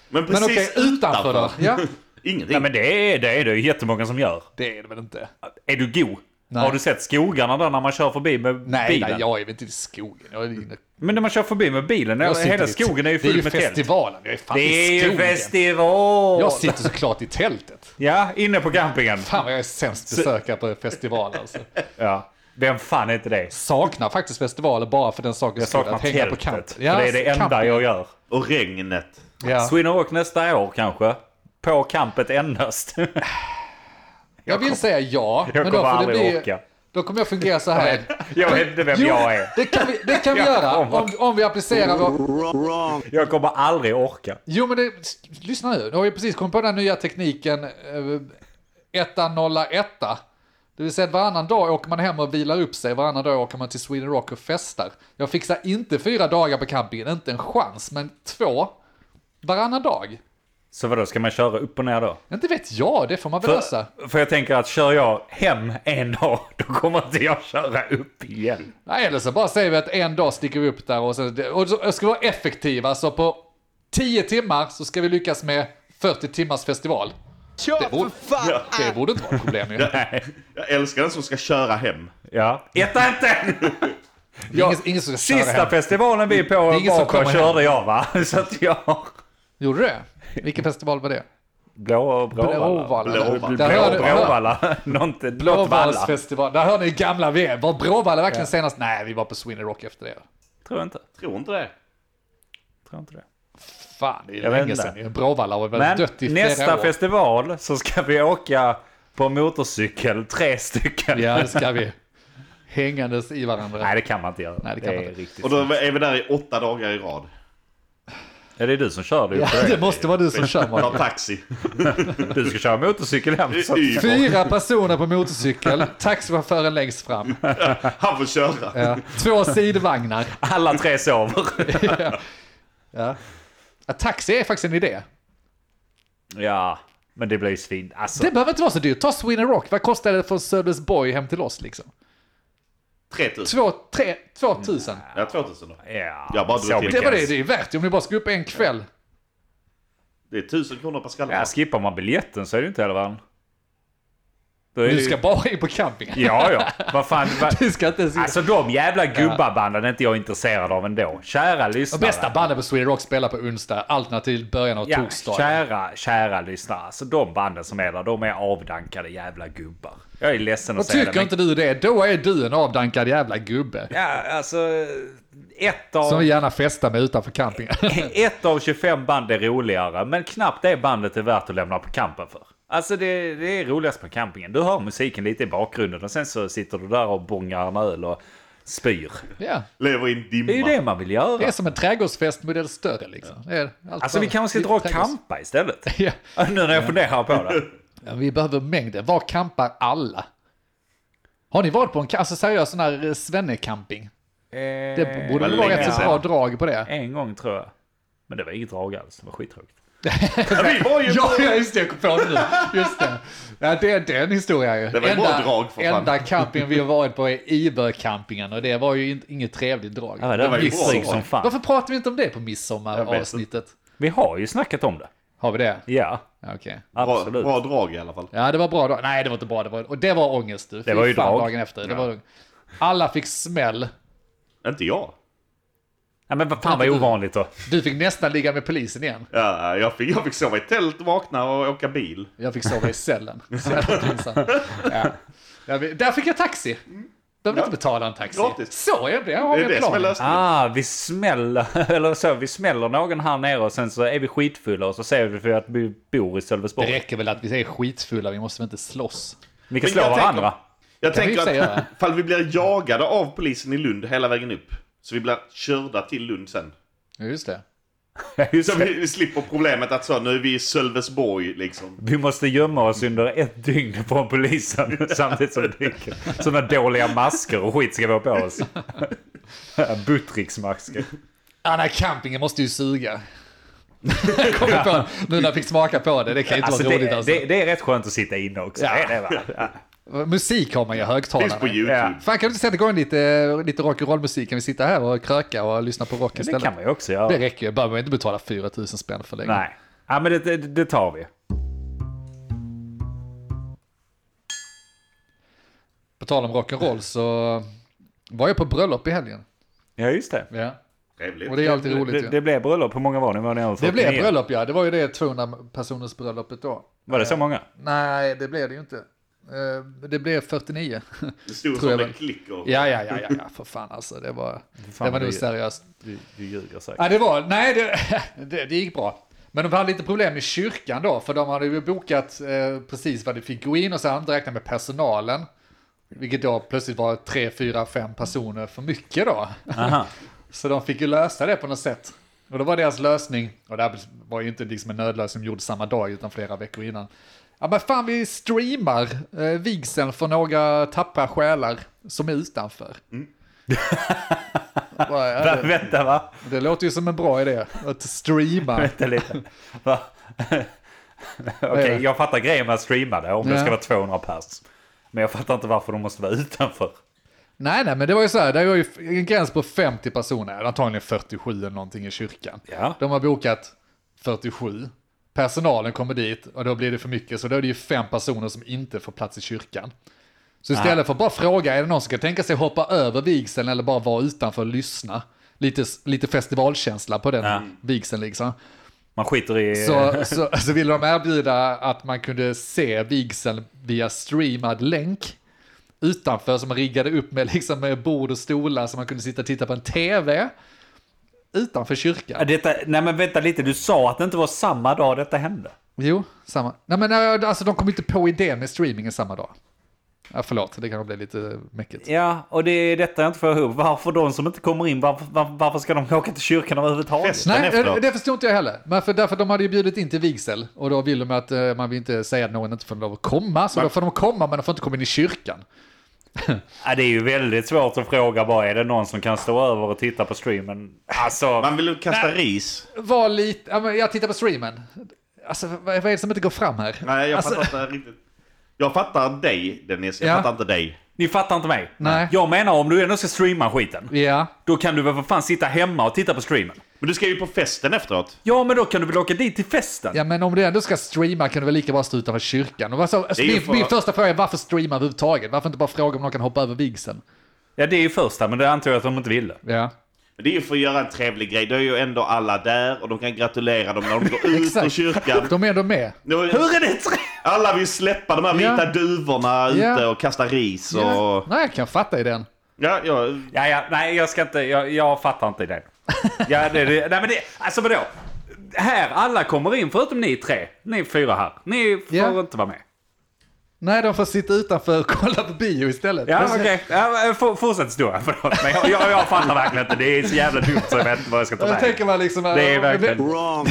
S4: Men precis
S3: okej, utanför
S4: utanför.
S3: då? Ja,
S4: Ingenting.
S1: nej men det är det är det ju jättemånga som gör.
S3: det är det väl inte?
S1: Är du go?
S3: Nej.
S1: Har du sett skogarna där när man kör förbi med
S3: Nej,
S1: bilen?
S3: nej, jag är väl inte i skogen. Jag är inne
S1: Men när man kör förbi med bilen,
S3: Jag sitter
S1: hela
S3: i-
S1: skogen är ju
S3: Det är ju
S1: full med tält.
S3: festivalen, jag är fan
S1: Det
S3: i
S1: är ju
S3: skogen.
S1: festival!
S3: Jag sitter såklart i tältet.
S1: Ja, inne på campingen.
S3: Fan vad jag är sämst besökare på festival alltså.
S1: Ja. Vem fan är inte det?
S3: Saknar faktiskt festivaler bara för den saken
S1: Jag saknar
S3: att hänga på
S1: tältet.
S3: campet.
S1: För det är det enda
S3: camping.
S1: jag gör.
S4: Och regnet.
S3: Ja.
S1: Sweden Rock nästa år kanske. På campet endast.
S3: Jag vill säga ja,
S1: jag
S3: men då
S1: kommer
S3: får det
S1: aldrig
S3: bli...
S1: åka.
S3: Då kommer jag fungera så här.
S1: Jag vet inte vem
S3: Jo,
S1: jag är.
S3: det kan vi, det kan vi
S1: Jag
S3: göra
S1: kommer.
S3: om, om vi applicerar vår...
S1: Jag kommer aldrig orka.
S3: Jo, men det, s- lyssna nu. Nu har vi precis kommit på den här nya tekniken eh, etta nolla etta. Det vill säga att varannan dag åker man hem och vilar upp sig, varannan dag åker man till Sweden Rock och festar. Jag fixar inte fyra dagar på campingen, inte en chans, men två varannan dag.
S1: Så vadå, ska man köra upp och ner då?
S3: Inte vet jag, det får man väl lösa.
S1: För, för jag tänker att kör jag hem en dag, då kommer inte jag köra upp igen.
S3: Nej, eller så bara säger vi att en dag sticker vi upp där och, sen, och så ska vi vara effektiva, så på 10 timmar så ska vi lyckas med 40 timmars festival. Det borde, det borde inte vara ett problem ju.
S4: Jag älskar den som ska köra hem.
S1: Ja. Etta inte!
S3: Det är ingen, ingen som ska köra
S1: Sista
S3: hem.
S1: festivalen vi på
S3: är ingen som
S1: var på
S3: kommer
S1: körde jag va? Så att jag...
S3: Gjorde du det? Vilken festival var det?
S1: Blå Bråvalla.
S3: Bråvalla.
S4: Blåvalla.
S3: Där
S1: Blå
S3: hörde- hör-
S1: Bråvalla. Något något valla.
S3: Blåvallsfestival. Där hör ni gamla vi är. Var Bråvalla verkligen senast? Nej, vi var på Sweden Rock efter det.
S1: Tror inte.
S4: Tror inte det.
S1: Tror inte det.
S3: Fan, det är
S1: Jag vet
S3: länge
S1: inte.
S3: sedan ju. Bråvalla var väl
S1: Men
S3: dött i flera
S1: nästa
S3: år.
S1: festival så ska vi åka på motorcykel, tre stycken.
S3: Ja, det ska vi. Hängandes i varandra.
S1: Nej, det kan man inte göra.
S3: Nej, det kan man
S1: är
S3: inte.
S1: riktigt.
S4: Och då är vi där i åtta dagar i rad.
S1: Ja, det är du som kör. Du,
S3: ja, det måste vara du som kör Mark.
S4: Ta taxi.
S1: du ska köra motorcykel hem. Så att...
S4: Uber.
S3: Fyra personer på motorcykel, taxichauffören längst fram.
S4: Han får köra.
S3: Ja. Två sidvagnar.
S1: Alla tre sover.
S3: Ja. Ja, taxi är faktiskt en idé.
S1: Ja, men det blir ju svin. Alltså,
S3: Det behöver inte vara så dyrt. Ta Sweden Rock. Vad kostar det från Sölvesborg hem till oss liksom?
S4: 3000.
S3: Två, tre, två tusen.
S4: Ja, 2000 då.
S1: ja.
S4: Jag bara
S1: så
S4: drog till.
S3: Det
S1: mycket
S3: var det,
S1: ens.
S3: det är värt det om ni bara ska upp en kväll.
S4: Det är 1000 kronor per skalle.
S1: Ja, skippar man biljetten så är det ju inte hela världen. Då är
S3: Du
S1: det-
S3: ska bara in på campingen.
S1: Ja, ja. Vad fan. Vad...
S3: Du ska inte ens...
S1: Alltså de jävla gubbabanden är inte jag intresserad av ändå. Kära lyssnare.
S3: Bästa bandet på Sweden Rock spelar på onsdag, alternativt början av
S1: Ja,
S3: torsdag.
S1: kära, kära lyssnare. Alltså de banden som är där, de är avdankade jävla gubbar. Jag är ledsen att
S3: Och
S1: säga det.
S3: tycker inte du det, då är du en avdankad jävla gubbe.
S1: Ja, alltså. Ett
S3: Som
S1: av,
S3: vi gärna festar med utanför campingen.
S1: ett av 25 band är roligare, men knappt det bandet är värt att lämna på campen för. Alltså det, det är roligast på campingen. Du hör musiken lite i bakgrunden och sen så sitter du där och bångar en öl och spyr.
S3: ja.
S4: Lever i en dimma.
S1: Det är ju det man vill göra.
S3: Det är som en trädgårdsfest modell större liksom. Det är allt
S1: Alltså
S3: bara-
S1: vi kanske ska dra och
S3: trädgårds-
S1: campa istället.
S3: Ja.
S1: Nu när jag funderar på det.
S3: Ja, vi behöver mängden. Var campar alla? Har ni varit på en, alltså seriös sån här eh, svennecamping?
S1: Eh,
S3: Det borde
S4: var
S3: väl vara
S4: länge
S3: rätt så
S4: sedan.
S3: bra drag på det.
S1: En gång tror jag. Men det var inget drag alls. Det var skittråkigt.
S4: Ja, vi var ju
S3: Ja, ja, just det, jag kom på det nu. Just det. Ja, det är den historia ju.
S4: Det var ett bra drag, för fan.
S3: enda campingen vi har varit på är Ibö-campingen och det var ju in, inget trevligt drag.
S1: Ja, det var
S4: var ju
S1: ju
S4: bra
S1: stryk
S4: drag.
S1: som fan.
S3: Varför pratar vi inte om det på
S4: Jag vet
S3: midsommaravsnittet?
S1: Vi har ju snackat om det.
S3: Har vi det?
S1: Ja,
S3: Ja, Okej.
S4: bra,
S1: absolut.
S4: bra drag i alla fall.
S3: Ja, det var bra dag. Nej, det var inte bra. Det var, och det var ångest du. Fy
S1: var ju
S3: fan,
S1: drag.
S3: dagen efter. Det
S1: Ja.
S3: var, alla fick smäll.
S4: Inte jag.
S1: Ja, men vad fan vad ovanligt då.
S3: Du fick nästan ligga med polisen igen.
S4: Ja, jag, fick, jag fick sova i tält, vakna och åka bil.
S3: Jag fick sova i cellen. Så jävla pinsamt. ja. Jag vet- Där fick jag taxi. Behöver inte betala en taxi.
S4: Gratis.
S3: Så är det. Jag har
S4: Det
S3: det
S4: är det som är
S3: plan.
S4: lösningen.
S1: Ah, vi smäller, eller så, vi smäller någon här nere och sen så är vi skitfulla och så säger vi för att vi bor i
S3: Det
S1: Sölvesborg.
S3: räcker väl att vi är skitfulla, vi måste väl inte slåss?
S1: Vi kan
S4: Men
S1: slå
S4: jag tänker-
S1: varandra.
S4: Jag
S3: kan vi
S4: tänker
S3: i och för sig
S4: att
S3: göra.
S4: ifall vi blir jagade av polisen i Lund hela vägen upp. Så vi blir körda till Lund sen.
S3: Ja, just det.
S1: Just
S4: Så
S1: det.
S4: vi, vi slipper problemet att så, nu är vi i Sölvesborg liksom.
S1: Vi måste gömma oss under ett dygn från polisen samtidigt som vi dyker. Sådana dåliga masker och skit ska vi ha på oss. Buttricksmasker.
S3: Ja, nej, campingen måste ju suga. Jag kom på, nu när jag fick smaka på det, det kan ju inte
S1: Alltså
S3: vara roligt
S1: det,
S3: alltså.
S1: det, det är rätt skönt att sitta inne också.
S3: Ja.
S1: Det är det, va? Ja.
S3: Musik har man ju
S4: Finns på
S3: högtalare.
S4: YouTube.
S1: Ja.
S3: Fan, kan du inte sätta igång lite, lite rock'n'roll-musik? Kan vi sitta här och kröka och lyssna på rock
S1: Det
S3: istället?
S1: kan man ju också göra.
S3: Det räcker ju, behöver man inte betala 4 000 spänn för länge.
S1: Nej, ja, men det, det, det tar vi.
S3: På tal om rock'n'roll så var jag på bröllop i helgen.
S1: Ja, just det.
S3: Ja.
S4: Trevligt.
S3: Och det är alltid roligt
S1: Det,
S3: ju.
S1: det blev bröllop. Hur många var ni? Var ni över
S3: Det blev
S1: 49?
S3: bröllop ja, det var ju det 200 personers bröllopet då.
S1: Var det så många?
S3: Nej, det blev det ju inte. Eh, Det blev 49.
S4: Det stod
S3: Tror
S4: som
S3: jag
S4: det
S3: väl.
S4: klickar.
S3: Ja, ja, ja, ja, ja, för fan alltså. Det var,
S1: fan,
S3: det var nog
S1: det-
S3: seriöst.
S1: Du, du ljuger säkert.
S3: Ja, det var, nej, det, det, det gick bra. Men de hade lite problem med kyrkan då, för de hade ju bokat eh, precis vad de fick gå in och så hade de inte räknat med personalen. Vilket då plötsligt var tre, fyra, fem personer för mycket då.
S1: Aha.
S3: Så de fick ju lösa det på något sätt. Och då var deras lösning, och det här var ju inte liksom en nödlösning som gjordes samma dag utan flera veckor innan. Ja men fan vi streamar eh, vigseln för några tappra själar som är utanför. Bara, ja,
S1: Va,
S3: det-
S1: vänta va?
S3: det låter ju som en bra idé, att streama.
S1: Vänta lite. Va? Okej,
S3: det?
S1: jag fattar grejen med att streama det om det
S3: Ja.
S1: ska vara 200 pers. Men jag fattar inte varför de måste vara utanför.
S3: Nej, nej, men det var ju så här, det var ju en gräns på 50 personer, eller antagligen 47 eller någonting i kyrkan.
S1: Ja.
S3: De har bokat 47. Personalen kommer dit och då blir det för mycket, så då är det ju fem personer som inte får plats i kyrkan. Så istället för att bara fråga, är det någon som kan tänka sig hoppa över vigseln eller bara vara utanför och lyssna? Lite, lite festivalkänsla på den
S1: Ja.
S3: vigseln liksom.
S1: Man skiter i...
S3: Så, så, så ville de erbjuda att man kunde se vigseln via streamad länk utanför som man riggade upp med, liksom med bord och stolar så man kunde sitta och titta på en tv utanför
S1: Ja,
S3: kyrkan.
S1: Detta, nej men vänta lite, du sa att det inte var samma dag detta hände.
S3: Jo, samma. Nej men eh, alltså de kom inte på idén med streamingen samma dag. Ja, förlåt, det kanske blev lite mäckigt.
S1: Ja, och det är detta jag inte får ihop. Varför de som inte kommer in, varför, var, varför ska de åka till kyrkan överhuvudtaget?
S4: Fest.
S3: Nej, eh,
S4: Sen efteråt.
S3: det, det förstod inte jag heller. Men för, därför de hade ju bjudit in till vigsel och då vill de att eh, man vill inte säga att någon inte får lov att komma. Så då får de komma men de får inte komma in i kyrkan.
S1: Ja, det är ju väldigt svårt att fråga bara, är det någon som kan stå över och titta på streamen? Alltså,
S4: Man vill ju kasta ris.
S3: var lite, ja, men jag tittar på streamen. Alltså vad vad är det som inte går fram här?
S4: Nej, jag
S3: alltså,
S4: fattar inte riktigt. Jag fattar dig, Dennis. Jag
S3: Ja.
S4: fattar inte dig.
S1: ni fattar inte mig.
S3: Nej.
S1: Jag menar om du ändå ska streama skiten,
S3: Ja,
S1: då kan du väl för fan sitta hemma och titta på streamen?
S4: Men du ska ju på festen efteråt.
S1: Ja, men då kan du väl åka dit till festen?
S3: ja, men om du ändå ska streama kan du väl lika bra stå utanför kyrkan? Och alltså,
S4: Det
S3: alltså,
S4: är ju
S3: min,
S4: för-
S3: min första fråga är varför streama överhuvudtaget? Varför inte bara fråga om någon kan hoppa över vigseln?
S1: Ja, det är ju första, men det antar jag att de inte ville.
S3: Ja.
S4: Men det är ju för att göra en trevlig grej. Då är ju ändå alla där och de kan gratulera dem när de går ut ur
S3: Exakt.
S4: kyrkan.
S3: De är ändå med.
S4: Hur
S1: Hur är det tre?
S4: Alla vill släppa de här vita
S3: Ja.
S4: duvorna
S3: Ja.
S4: ute och kasta ris och...
S3: Ja.
S4: Ja,
S3: Nej, jag kan fatta idén.
S4: ja,
S1: Ja, ja, nej, jag ska inte, jag, jag fattar inte det. Ja, det, det, nej, men det, alltså vadå? Här, alla kommer in förutom ni tre. Ni fyra här. Ni får
S3: Ja.
S1: inte vara med.
S3: Nej, de får sitta utanför och kolla på bio istället.
S1: Ja,
S3: Men-
S1: okej. Ja, f- fortsätt stora, förlåt. Men jag, jag, jag fattar verkligen inte. Det är så jävla dumt så jag vet inte vad jag ska ta
S3: Jag
S1: vägen.
S3: tänker man liksom,
S1: Det är verkligen...
S4: Wrong.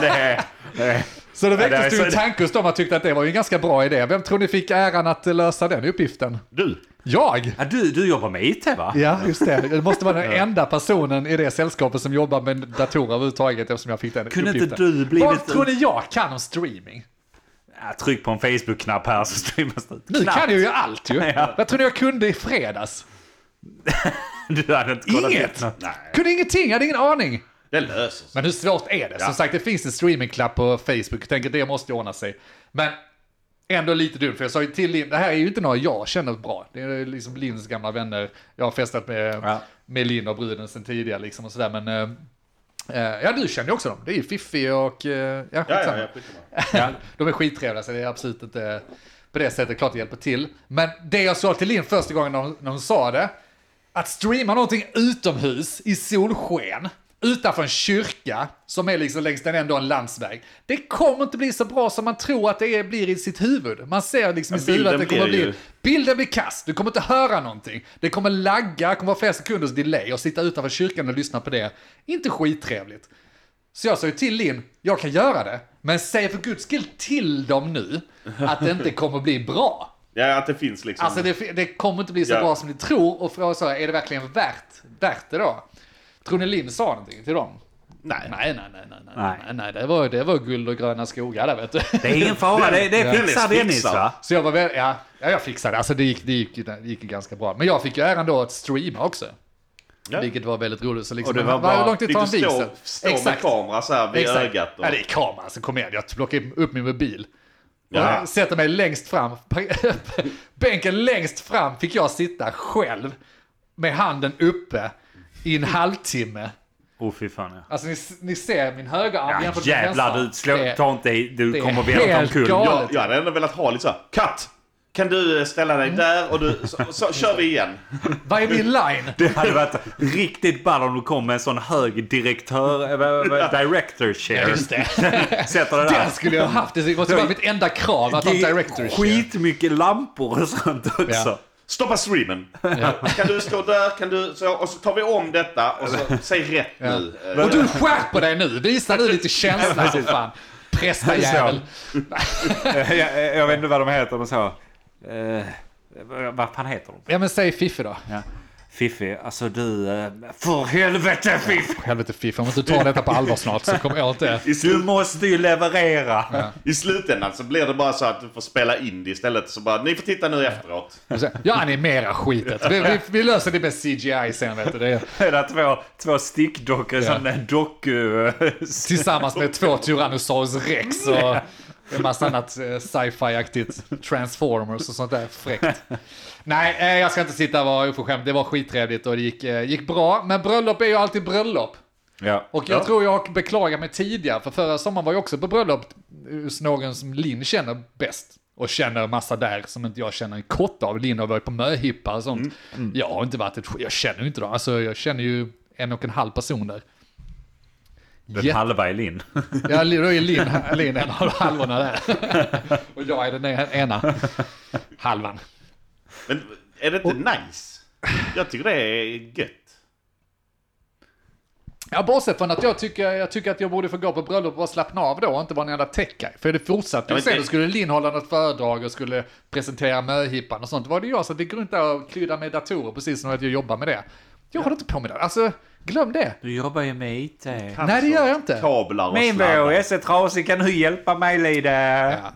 S1: Det är, det är.
S3: Så det
S1: Ja, det är
S3: väcktes ju
S1: så-
S3: en tanke hos dem att tyckte att det var ju en ganska bra idé. Vem tror ni fick äran att lösa den uppgiften?
S4: Du.
S3: Jag!
S1: Ja, du, du jobbar med IT va?
S3: Ja, just det. Det måste vara den enda personen i det sällskapet som jobbar med datorer överhuvudtaget eftersom jag fick den
S1: Kunde inte
S3: uppgiften.
S1: du blivit-
S3: Vad tror ni jag kan om streaming?
S1: Ja, tryck på en Facebook-knapp här så streamas det ut.
S3: Nu
S1: Knappt.
S3: kan jag ju allt ju.
S1: Ja.
S3: Vad tror ni jag kunde i fredags?
S1: Du hade inte kollat
S3: Inget!
S1: upp något.
S3: Kunde ingenting, jag hade ingen aning.
S4: Det löser sig.
S3: Men hur svårt är det? Som sagt, det finns en streamingklapp på Facebook. Jag tänker det måste ju ordna sig. Men ändå lite dumt, för jag sa ju till Linn, det här är ju inte några jag känner bra. Det är liksom Linns gamla vänner. Jag har festat med,
S1: Ja.
S3: med Linn och bruden sen tidigare liksom och sådär. Men eh, eh, ja, du känner ju också dem. Det är ju Fiffi och... Eh, ja,
S4: Ja,
S3: skitsamma.
S4: ja, ja, skitsamma.
S1: Ja.
S3: De är skittrevliga, så det är absolut inte på det sättet klart det hjälper till. Men det jag sa till Linn första gången när hon, när hon sa det, att streama någonting utomhus i solsken, utanför en kyrka, som är liksom längs den ändå en landsväg, det kommer inte bli så bra som man tror att det är, blir i sitt huvud. Man ser liksom i sitt huvud att det
S4: bilden
S3: kommer
S4: blir
S3: bli...
S4: ju-
S3: Bilden blir kass, du kommer inte höra någonting. Det kommer lagga, det kommer vara flera sekunders delay och sitta utanför kyrkan och lyssna på det. Inte skittrevligt. Så jag sa ju till Linn, jag kan göra det, men säg för guds skull till dem nu att det inte kommer bli bra.
S4: Ja, att det finns liksom.
S3: Alltså det, det kommer inte bli så
S4: Ja.
S3: bra som ni tror och frågan så här, är det verkligen värt, värt det då? Tror ni Linn sa någonting till dem? Nej, nej, nej, nej, nej, nej,
S1: Nej.
S3: nej, nej det, var, det var guld och gröna skogar där vet du.
S1: Det är ingen fara, det, det
S4: Ja.
S1: fixar Dennis
S4: Fixar.
S1: va?
S3: Så jag var väl, ja, ja jag fixade det. Alltså det gick, det, gick, det gick ju ganska bra. Men jag fick ju äran då att streama också.
S4: Ja.
S3: Vilket var väldigt roligt. Så liksom,
S1: Och det var
S3: men vad-
S1: bara-
S3: hur långt det tar en
S4: Lite
S3: vigsel?
S4: stå, stå med kamera så här vid ögat. Och...
S3: Ja, det är kameran. Så kom igen, jag plockar upp min mobil.
S4: Ja.
S3: Och sätter mig längst fram. Bänken längst fram fick jag sitta själv med handen uppe i en halvtimme.
S1: Åh fy fan ja.
S3: Alltså ni, ni ser min högra arm
S1: Ja,
S3: jämfört med Eh, min vänstra.
S1: jävlar du, slå,
S3: Det-
S1: ta inte i, du
S3: det är
S1: kommer välta
S3: helt
S1: omkull.
S3: galet.
S1: Ja,
S4: jag, jag hade ändå velat ha lite så här, cut! Kan du ställa
S3: Mm.
S4: dig där och du, så, så kör vi igen.
S3: Vad är min line?
S1: Det hade varit riktigt ball om du kom med en sån hög direktör... eh, vad- vad- Director
S3: Ja,
S1: share.
S3: Just det.
S1: Sätter det där.
S3: Den skulle jag haft. Det måste vara mitt enda krav att ha en
S1: Det är
S3: director shit.
S1: Skitmycket lampor och sånt också.
S3: Ja.
S4: Stoppa streamen. Kan du stå där? Kan du, så, och så tar vi om detta och så säg rätt nu. Eh,
S3: Och du skärper dig nu. Visa nu lite känsla för fan. Prästajävel.
S1: jag, jag- jag vet inte vad de heter, men så... Eh, vad- vad fan heter de?
S3: Ja men säg Fiffi då.
S1: Ja. Fiffi, alltså du... eh, För helvete Fiffi!
S3: Helvete Fiffi, om du inte tar detta på allvar snart så kommer jag inte...
S4: I,
S1: Du
S4: slu,
S1: måste ju leverera!
S4: I slutändan så blir det bara så att du får spela in det istället. Så bara, ni får titta nu efteråt.
S3: Jag animerar skitet. Vi, vi, vi löser det med CGI sen vet du. Det är,
S1: Det är två, två stickdockor,
S3: Ja.
S1: sån där doku...
S3: tillsammans med två Tyrannosaurus Rex och en massa annat eh, sci-fi-aktigt. Transformers och sånt där fräckt. Nej, eh, jag ska inte sitta och vara oförskämd. Det var skittrevligt och det gick, eh, gick bra. Men bröllop är ju alltid bröllop.
S1: ja.
S3: Och jag
S4: Ja.
S3: tror jag beklagar mig tidigare, för förra sommaren var jag också på bröllop hos någon som Linn känner bäst. Och känner massa där som inte jag känner en kott av. Linn har varit på möhippa och sånt. Jag har inte varit ett sk- Jag känner ju inte dem. Alltså jag känner ju en och en halv person där.
S1: Den
S3: Jätte-
S1: halva är Linn.
S3: Ja, li- då är Linn Lin en av halvorna där. Och jag är den ena halvan.
S4: Men är det inte nice? Jag tycker det är gött.
S3: Ja, bortsett från att jag tycker, jag tycker att jag borde få gå på bröllop och bara slappna av då och inte vara en jävla tech För det fortsatte
S4: Ja,
S3: ju
S4: men
S3: sen,
S4: det-
S3: då skulle Linn hålla något föredrag och skulle presentera möhippan och sånt. Då var det jag som fick gå runt där och krydda med datorer precis som att jag jobbar med det. Jag håller inte på med det. Alltså, glöm det.
S1: Du jobbar ju med IT.
S3: Nej, det gör jag inte.
S4: Kablar och
S1: Min
S4: sladdar.
S1: VHS är trasig, kan du hjälpa mig lite?
S3: Ja.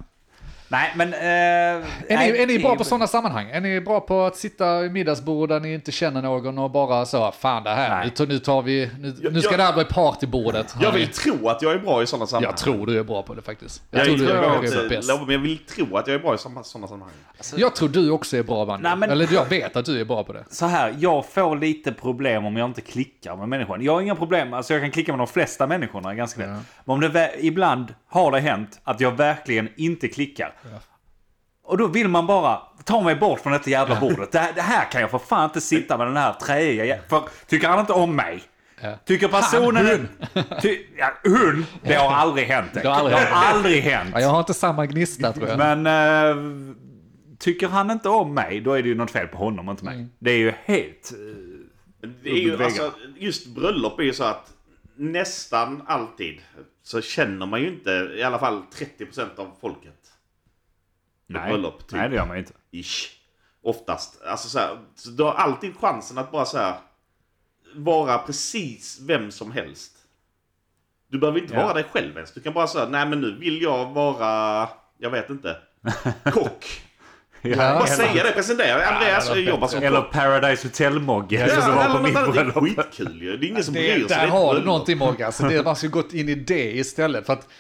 S1: Nej, men... eh,
S3: Är,
S1: nej,
S3: ni, är ni bra
S1: det-
S3: på sådana sammanhang? Är ni bra på att sitta i middagsbord där ni inte känner någon och bara så, fan det här,
S1: Nej.
S3: nu tar- nu tar vi, nu, nu
S4: Jag-
S3: ska
S4: jag-
S3: det här bli partybordet.
S4: Jag vill tro att jag är bra i sådana sammanhang.
S3: jag tror du är bra på det faktiskt. Jag,
S4: Jag,
S3: tror du är,
S4: inte-
S3: är bäst.
S4: Lovar, men jag vill tro att jag är bra i sådana sammanhang.
S3: Jag tror du också är bra Vanni.
S1: Nej, men-
S3: Eller jag vet att du är bra på det.
S1: så här, jag får lite problem om jag inte klickar med människan. Jag har inga problem, alltså jag kan klicka med de flesta människorna ganska lätt. Men om det vä- ibland har det hänt att jag verkligen inte klickar. Och då vill man bara ta mig bort från detta jävla bordet. Det här, det här kan jag för fan inte sitta med den här träiga jä- För tycker han inte om mig?
S3: Ja.
S1: Tycker personen... hon! Ty, ja, hon! Det har aldrig hänt.
S3: Det har aldrig
S1: det har aldrig hänt.
S3: Ja, jag har inte samma gnista tror jag.
S1: Men eh, tycker han inte om mig, då är det ju något fel på honom, inte mig. Det är ju helt... eh,
S4: Det är
S1: Ludvig
S4: ju,
S1: Vega.
S4: alltså, just bröllop är ju så att nästan alltid så känner man ju inte i alla fall 30% av folket.
S1: Nej.
S4: bröllop, typ.
S1: Nej, det gör man ju inte.
S4: Ish. Oftast. Alltså så, här, så du har alltid chansen att bara så här vara precis vem som helst. Du behöver inte
S1: Ja.
S4: vara dig själv ens. Du kan bara säga nej men nu vill jag vara, jag vet inte, kock.
S3: Ja.
S4: Bara
S1: eller,
S4: säga det, presentera. Andreas
S3: det var
S4: jobbar som
S1: eller
S4: kock.
S1: Paradise Hotel-Mogge
S4: Ja,
S1: som var
S4: eller
S1: på
S4: något
S1: mitt
S4: annat. det är
S1: bröllop.
S4: skitkul ju. Det är ingen som bryr sig.
S3: Det,
S4: Det är
S3: där
S4: ett
S3: har du
S4: bröllop.
S3: någonting Morgan, så det, man ska gått in i det istället. För att
S1: gick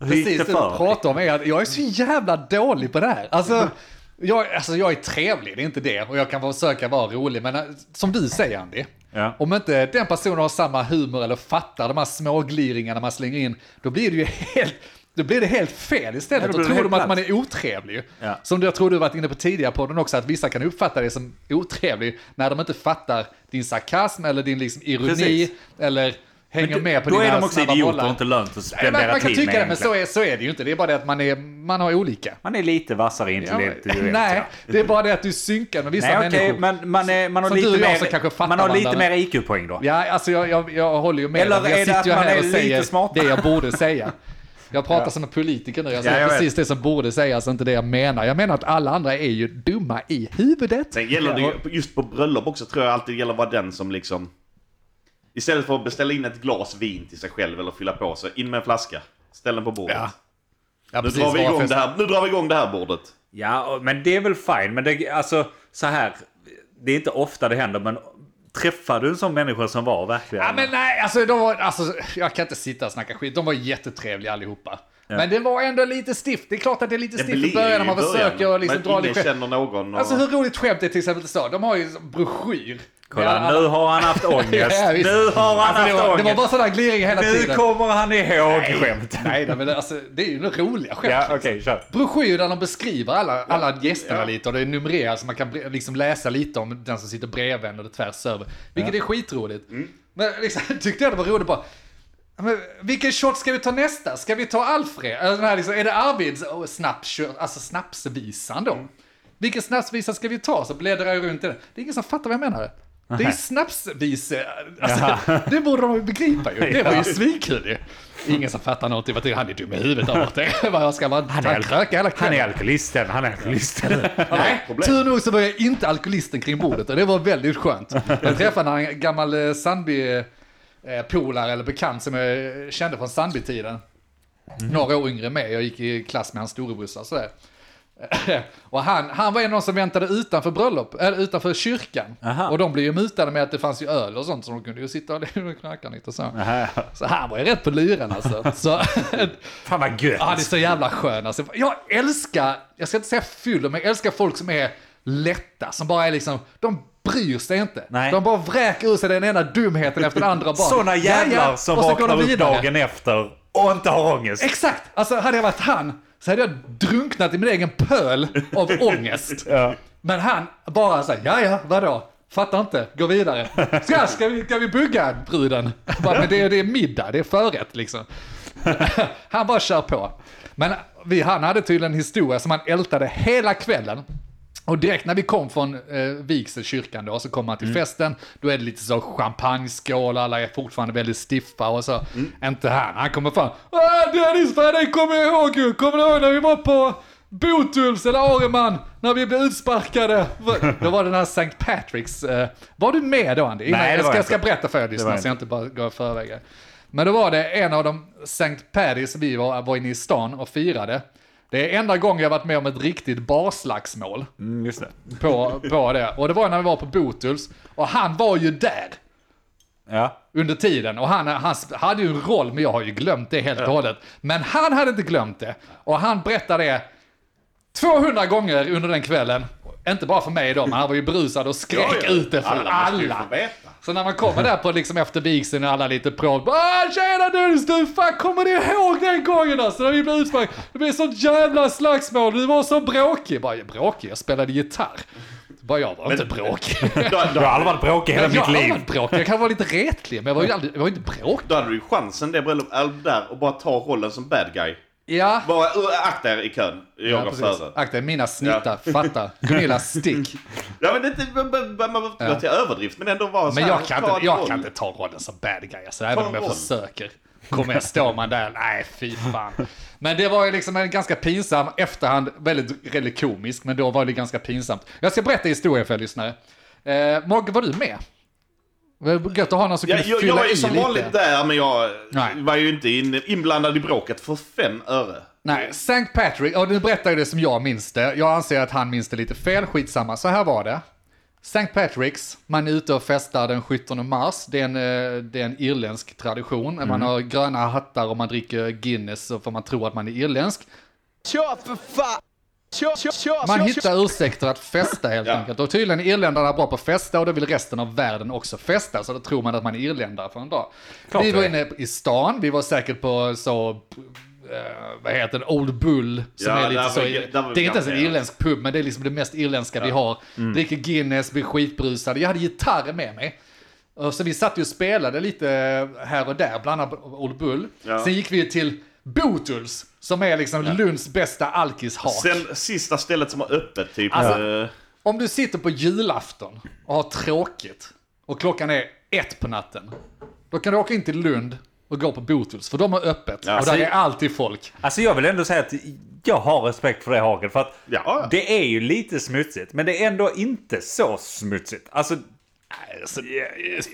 S1: det
S3: precis det du
S1: för?
S3: pratar om är att jag är så jävla dålig på det här. Alltså, jag, alltså jag är trevlig, det är inte det. Och jag kan försöka vara rolig, men eh, som du säger Andy.
S1: Ja.
S3: Om inte den personen har samma humor eller fattar de här smågliringarna man slänger in, då blir det ju helt... Då blir det helt fel
S1: Ja,
S3: istället.
S1: då
S3: då
S1: blir det
S3: tror
S1: helt
S3: de
S1: platt.
S3: att man är otrevlig.
S1: Ja.
S3: Som jag tror du varit inne på tidigare på den också, att vissa kan uppfatta dig som otrevlig när de inte fattar din sarkasm eller din liksom ironi
S1: Precis.
S3: eller hänger
S1: Men
S3: med på
S1: Då
S3: dina
S1: är de också
S3: snabba
S1: idioter
S3: bollar.
S1: och inte lönt att
S3: Nej, man,
S1: spendera
S3: man kan
S1: tid
S3: tycka
S1: med
S3: det, men så
S1: egentligen.
S3: är, så är det ju inte. Det är bara det att man, är, man har olika.
S1: Man är lite vassare
S3: Ja,
S1: intellektuellt.
S3: men-
S1: ja.
S3: nej, det är bara det att du synkar med vissa
S1: Nej, okej,
S3: människor.
S1: men man, är, man har
S3: Som
S1: lite
S3: du och jag som kanske
S1: mer,
S3: fattar
S1: man har lite
S3: varandra.
S1: mer IQ-poäng då.
S3: Ja, alltså jag, jag, jag håller ju med.
S1: Eller
S3: men jag
S1: är det
S3: sitter
S1: att
S3: ju
S1: man
S3: här
S1: är
S3: och
S1: lite
S3: säger
S1: smartare?
S3: det jag borde säga. Jag pratar som en politiker nu. Jag säger
S1: Ja, jag
S3: precis det som borde sägas, inte det jag menar. Jag menar att alla andra är ju dumma i huvudet.
S4: Sen gäller det ju, just på bröllop också tror jag alltid gäller att vara den som liksom Istället för att beställa in ett glas vin till sig själv eller fylla på sig, in med en flaska. Ställ den på bordet.
S3: Ja, Ja,
S4: nu,
S3: precis,
S4: drar vi
S3: bara
S4: igång
S3: fest-
S4: det här, nu drar vi igång det här bordet.
S1: Ja, och- men det är väl fine. Men det, alltså, så här. Det är inte ofta det händer, men träffar du en sån människa som var verkligen...
S3: Ja, men nej, alltså, de var, alltså, jag kan inte sitta och snacka skit. De var jättetrevliga allihopa. Men det var ändå lite stift. Det är klart att det är lite stift i
S4: blir
S3: början när
S4: ju i
S3: man försöker och liksom
S4: men
S3: dra
S4: ingen
S3: lite skämt.
S4: känner någon. Och...
S3: Alltså hur roligt skämt är till exempel så? De har ju en broschyr
S1: Kolla,
S3: Ja,
S1: nu har han haft ångest.
S3: Ja, visst.
S1: nu har han
S3: Alltså, det,
S1: haft
S3: var, det
S1: ångest.
S3: var bara sådär gliringar hela
S1: nu
S3: tiden.
S1: kommer han ihåg skämten.
S3: Nej, nej, men det- alltså, det är ju några roliga skämt.
S1: Ja,
S3: liksom.
S1: okej, kör.
S3: broschyr där de beskriver alla, alla gästerna
S4: Ja.
S3: lite och det är numrerat så man kan bre- liksom läsa lite om den som sitter bredvid en och det tvärs över. Vilket är skitroligt. Men liksom, tyckte jag det var roligt bara. "Ja, Men vilken shot ska vi ta nästa? Ska vi ta Alfred? Alltså, den här liksom, är det Arvids oh, snaps, alltså snapsvisan då? Vilken snapsvisa ska vi ta? Så bläddrar jag runt i den. Det är ingen som fattar vad jag menar. Det är snapsvise. Alltså, det borde de ju begripa ju. Det var ju svinkul ju. Ingen som fattar någonting. Vad tycker Han är dum i huvudet där borta. Vad ska man han
S1: är-
S3: kröka hela
S1: Han är
S3: kvällen?
S1: alkoholisten, han är alkoholisten.
S3: Nej,
S4: problem.
S3: tur nog så var jag inte alkoholisten kring bordet och det var väldigt skönt. Jag träffade en gammal eh, Sandby eh, polare eller bekant som jag eh, kände från Sandby-tiden.
S1: Mhm.
S3: Några år yngre med, jag gick i klass med hans storebrorsa och sådär. Och han, han var en av de som väntade utanför bröllop, eller utanför kyrkan.
S1: Aha.
S3: Och de blev ju mutade med att det fanns ju öl och sånt så de kunde ju sitta och knacka lite och så. Så han var ju rätt på luren alltså. Så,
S1: Fan vad gött.
S3: Ja, han är så jävla skön. Alltså, jag älskar, jag ska inte säga full, men jag älskar folk som är lätta, som bara är liksom, de bryr sig inte.
S1: Nej.
S3: De bara vräker ur sig den ena dumheten efter den andra. Bara,
S1: Såna jävlar
S3: "Ja, ja."
S1: som
S3: Och så går de
S1: vaknar upp
S3: vidare.
S1: dagen efter och inte har ångest.
S3: Exakt! Alltså hade jag varit han så hade jag drunknat i min egen pöl av ångest.
S1: Ja.
S3: Men han bara så här, ja ja, vadå? Fattar inte, gå vidare. Ska, ska, vi, ska vi bugga bruden? Bara, men det, är- det är middag, det är förrätt liksom. Han bara kör på. Men vi, han hade tydligen en historia som han ältade hela kvällen. Och direkt när vi kom från eh, vigselkyrkan då, så kommer han till
S1: Mm.
S3: festen. Då är det lite så champagneskål, alla är fortfarande väldigt stiffa och så.
S1: Mm.
S3: Inte han, han kommer fram. "Ah, Dennis, vad det kommer jag ihåg ju. Kommer du ihåg när vi var på Botulfs eller Areman? När vi blev utsparkade. Va- Då var det den här St. Patricks. Eh, var du med då Andy? Innan-
S1: Nej, det
S3: jag,
S1: var
S3: ska,
S1: jag
S3: jag ska
S1: inte.
S3: berätta för er
S1: var
S3: lyssnare
S1: jag
S3: så jag inte bara går i förväg. här. Men då var det en av de St. Paddy's vi var, var inne i stan och firade. Det är enda gången jag varit med om ett riktigt barslagsmål
S1: Mm, just det.
S3: på, på det. Och det var när vi var på Botuls. Och han var ju där
S1: Ja.
S3: under tiden. Och han, han hade ju en roll, men jag har ju glömt det helt och hållet. Men han hade inte glömt det. Och han berättade det 200 gånger under den kvällen. Inte bara för mig då, men han var ju brusad och skrek ut det för alla.
S4: måste ju få veta.
S3: Så när man kommer där på liksom efter vigseln och alla lite prov. Ah, tjena Dennis, du fan kommer du ihåg den gången alltså när vi blev utsparkade? Det blev sånt jävla slagsmål, du var så bråkig. Bara, bråkig? Jag spelade gitarr. Bara, jag var inte bråkig.
S4: Då,
S1: Jag har
S4: då,
S1: aldrig varit bråkig i hela
S3: jag
S1: mitt
S3: har
S1: liv.
S3: varit bråkig, jag kan vara lite retlig, men jag var ju aldrig, jag var inte bråkig.
S4: då hade du ju chansen det bröllopet, Alm, där och bara ta rollen som bad guy.
S3: Ja.
S4: Bara uh, akta er i kön. Jag
S3: Ja,
S4: går
S3: precis.
S4: före.
S3: Akta mina snittar, fatta. Gunilla stick.
S4: Ja men det, är inte- man behöver inte
S3: Ja.
S4: gå till överdrift men ändå vara så
S3: Men
S4: här,
S3: jag kan,
S4: ta
S3: inte,
S4: en
S3: jag
S4: roll.
S3: kan inte ta rollen som bad guy, alltså, även
S4: en
S3: om jag
S4: roll.
S3: försöker. Kommer jag stå man där, nej fy fan. Men det var ju liksom en ganska pinsam efterhand, väldigt, väldigt komisk, men då var det ganska pinsamt. Jag ska berätta historien för er lyssnare. Eh, Mogge, var du med? Vad Gött att ha någon som
S4: Ja,
S3: kunde
S4: jag, jag
S3: fylla
S4: var
S3: i
S4: ju som
S3: lite.
S4: vanligt där men jag
S3: Nej.
S4: var ju inte in, inblandad i bråket för fem öre.
S3: Nej, St. Patrick, och nu berättar jag det som jag minns det. Jag anser att han minns det lite fel, skitsamma. Så här var det. St. Patricks, man är ute och festar den 17 mars. Det är en, eh, det är en irländsk tradition. Man har gröna hattar och man dricker Guinness så får man tro att man är irländsk.
S5: Kör för fan! Kör, kör, kör,
S3: Man
S5: kör,
S3: hittar ursäkter att festa helt
S4: Ja.
S3: enkelt. Och tydligen är irländarna bra på att festa och då vill resten av världen också festa. Så då tror man att man är irländare för en dag.
S1: Klart
S3: vi var
S1: det.
S3: inne i stan, vi var säkert på så... eh, vad heter det? Old Bull. Som
S4: Ja,
S3: är lite
S4: där
S3: så,
S4: var- där var vi Mm.
S3: det är inte ens en
S4: garanterat.
S3: irländsk pub, men det är liksom det mest irländska vi har. Dricker Guinness, blir skitbrusade. Jag hade gitarr med mig. Och Så vi satt ju och spelade lite här och där, bland annat Old Bull.
S4: Ja.
S3: Sen gick vi till Botuls, som är liksom Lunds bästa alkishak.
S4: Sen sista stället som har öppet typ.
S3: Alltså-
S4: eh,
S3: Om du sitter på julafton och har tråkigt och klockan är ett på natten. Då kan du åka in till Lund och gå på Botuls för de har öppet
S4: Ja,
S3: och där
S4: så-
S3: är alltid folk.
S1: Alltså jag vill ändå säga att jag har respekt för det Hagen. För att
S4: Ja.
S1: det är ju lite smutsigt. Men det är ändå inte så smutsigt. Alltså...
S3: Alltså,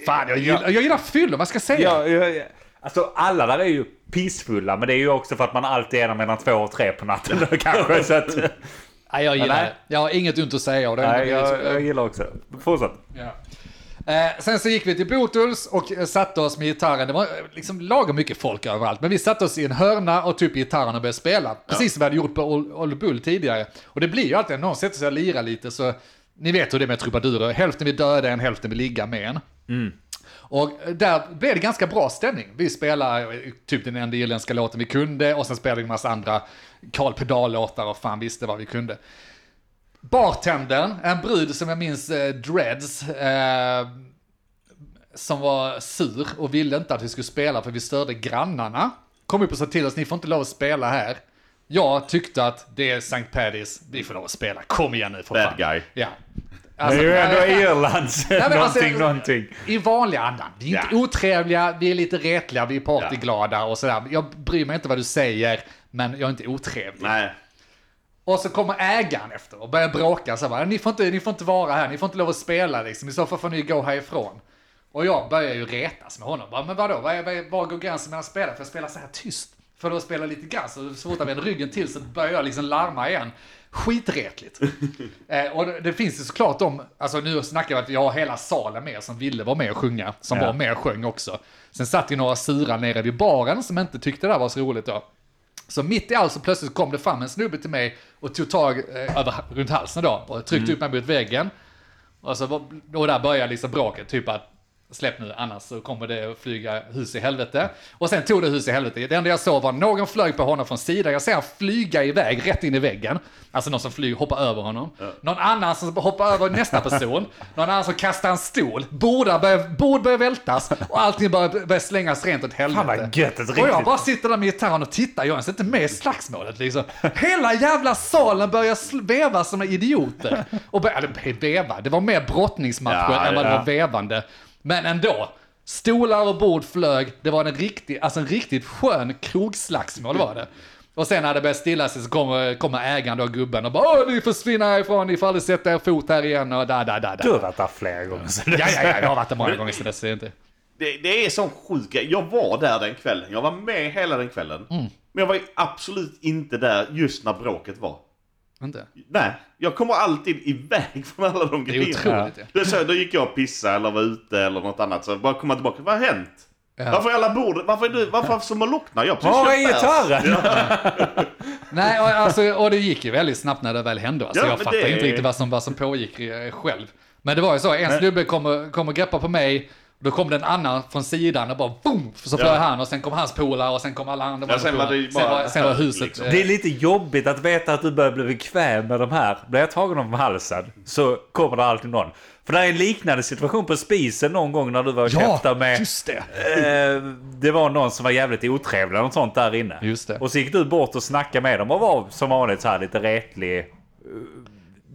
S3: fan, jag gillar, jag gillar fyller, vad ska jag säga?
S1: Jag, jag, jag, alltså alla där är ju pissfulla. Men det är ju också för att man alltid är där mellan två och tre på natten då, kanske. Så att,
S3: Nej, jag gillar
S1: Nej.
S3: det. Jag har inget ont att säga. Och det
S1: nej, jag, jag gillar också. Fortsätt.
S3: Ja. Eh, sen så gick vi till Botuls och eh, satte oss med gitarren. Det var eh, liksom lagom mycket folk överallt. Men vi satte oss i en hörna och tog upp gitarren och började spela. Precis som vi hade gjort på Old Old Bull tidigare. Och det blir ju alltid när någon sätter sig och lirar lite så Ni vet hur det är med trubadurer. Hälften vill döda en, hälften vill ligga med en. Och där blev det ganska bra stämning. Vi spelade eh, typ den enda irländska låten vi kunde och sen spelade vi en massa andra Karl Pedal-låtar och fan visste vad vi kunde. Bartendern, en brud som jag minns eh, Dreads, eh, som var sur och ville inte att vi skulle spela för vi störde grannarna. Kom upp och sa till oss, ni får inte lov att spela här. Jag tyckte att det är St. Paddy's, vi får lov att spela, kom igen nu för
S4: Bad
S3: fan.
S4: guy.
S3: Ja.
S1: Det
S3: Alltså,
S1: är ju ändå
S3: nej,
S1: Irlands
S3: men
S1: någonting,
S3: alltså-
S1: någonting.
S3: i vanliga andan. Vi är inte
S4: Ja.
S3: otrevliga, vi är lite retliga, vi är partyglada och sådär. Jag bryr mig inte vad du säger, men jag är inte otrevlig.
S4: Nej.
S3: Och så kommer ägaren efter och börjar bråka. Så här, bara, ni, får inte, ni får inte vara här, ni får inte lov att spela liksom. I så fall får ni gå härifrån. Och jag börjar ju retas med honom. Bara, men vadå, var, var, var går gränsen mellan spela? För jag spelar så här tyst. För att spela lite grann, så så fort han vänder ryggen till så börjar jag liksom larma igen. Skitretligt. eh, och det, det finns ju såklart de, alltså nu snackar vi att vi har hela salen med som ville vara med och sjunga, som
S1: Ja.
S3: var med och sjöng också. Sen satt ju några sura nere vid baren som inte tyckte det här var så roligt då. Så mitt i allt så plötsligt kom det fram en snubbe till mig och tog tag eh, över, runt halsen då och
S1: Mm.
S3: tryckte upp mig mot väggen. Och, så, var- och där började liksom bråket, typ att släpp nu annars så kommer det att flyga hus i helvete. Och sen tog det hus i helvete. Det enda jag såg var någon flög på honom från sidan. Jag ser han flyga iväg rätt in i väggen. Alltså någon som flyger, hoppar över honom. Någon annan som hoppar över nästa person. Någon annan som kastar en stol. Bordar börjar, bord börjar vältas och allting börjar, börjar slängas rent åt helvete.
S1: Fan, vad gött, ett
S3: och jag
S1: riktigt-
S3: bara sitter där med gitarren och tittar. Jag är inte med i slagsmålet liksom. Hela jävla salen börjar sl- veva som idioter. Och börjar, eller veva, det var mer brottningsmatcher
S4: Ja,
S3: än vad det
S1: ja.
S3: var vevande. Men ändå. Stolar och bord flög. Det var en riktig, alltså en riktigt skön krogslagsmål var det. Och sen när det började stilla sig så kommer, kommer ägaren då, gubben, och bara Åh, ni försvinner härifrån, ni får aldrig sätta er fot här igen och da, da, da, da.
S1: Du har varit där flera gånger. Så det...
S3: Ja, ja, ja, jag har varit där många gånger så det ser jag inte.
S4: Det, det är sån sjuk grej. Jag var där den kvällen. Jag var med hela den kvällen.
S3: Mm.
S4: Men jag var ju absolut inte där just när bråket var.
S3: Inte?
S4: Nej, jag kommer alltid iväg från alla de
S3: Det är
S4: grejerna.
S3: otroligt ju.
S4: Det är så, då gick jag och pissade eller var ute eller något annat. Så jag bara komma tillbaka. Vad har hänt?
S3: Ja.
S4: Varför är alla bord... Varför är du... Varför som har locknat? Jag har precis
S1: Var är
S4: köpt bärs.
S1: gitarren?
S3: Nej, och, alltså, och det gick ju väldigt snabbt när det väl hände. Alltså,
S4: Ja,
S3: jag
S4: men
S3: fattar
S4: det-
S3: inte riktigt vad som, vad som pågick eh, själv. Men det var ju så, en snubbe kom, och- kom och greppade på mig, och då kom det en annan från sidan och bara boom! Så flög
S4: Ja.
S3: han och sen kom hans polare och sen kom alla andra.
S4: Ja, sen var det ju
S3: sen,
S4: bara-
S3: var, sen var huset...
S4: liksom.
S3: eh,
S1: Det är lite jobbigt att veta att du börjar bli bekväm med de här. Blir jag tagen om halsen så kommer det alltid någon. För det är en liknande situation på spisen någon gång när du var och käftade
S3: ja,
S1: med...
S3: just det!
S1: Eh, det var någon som var jävligt otrevlig, något sånt där inne.
S3: Just det.
S1: Och så gick du bort och snackade med dem och var som vanligt så här lite retlig. Eh,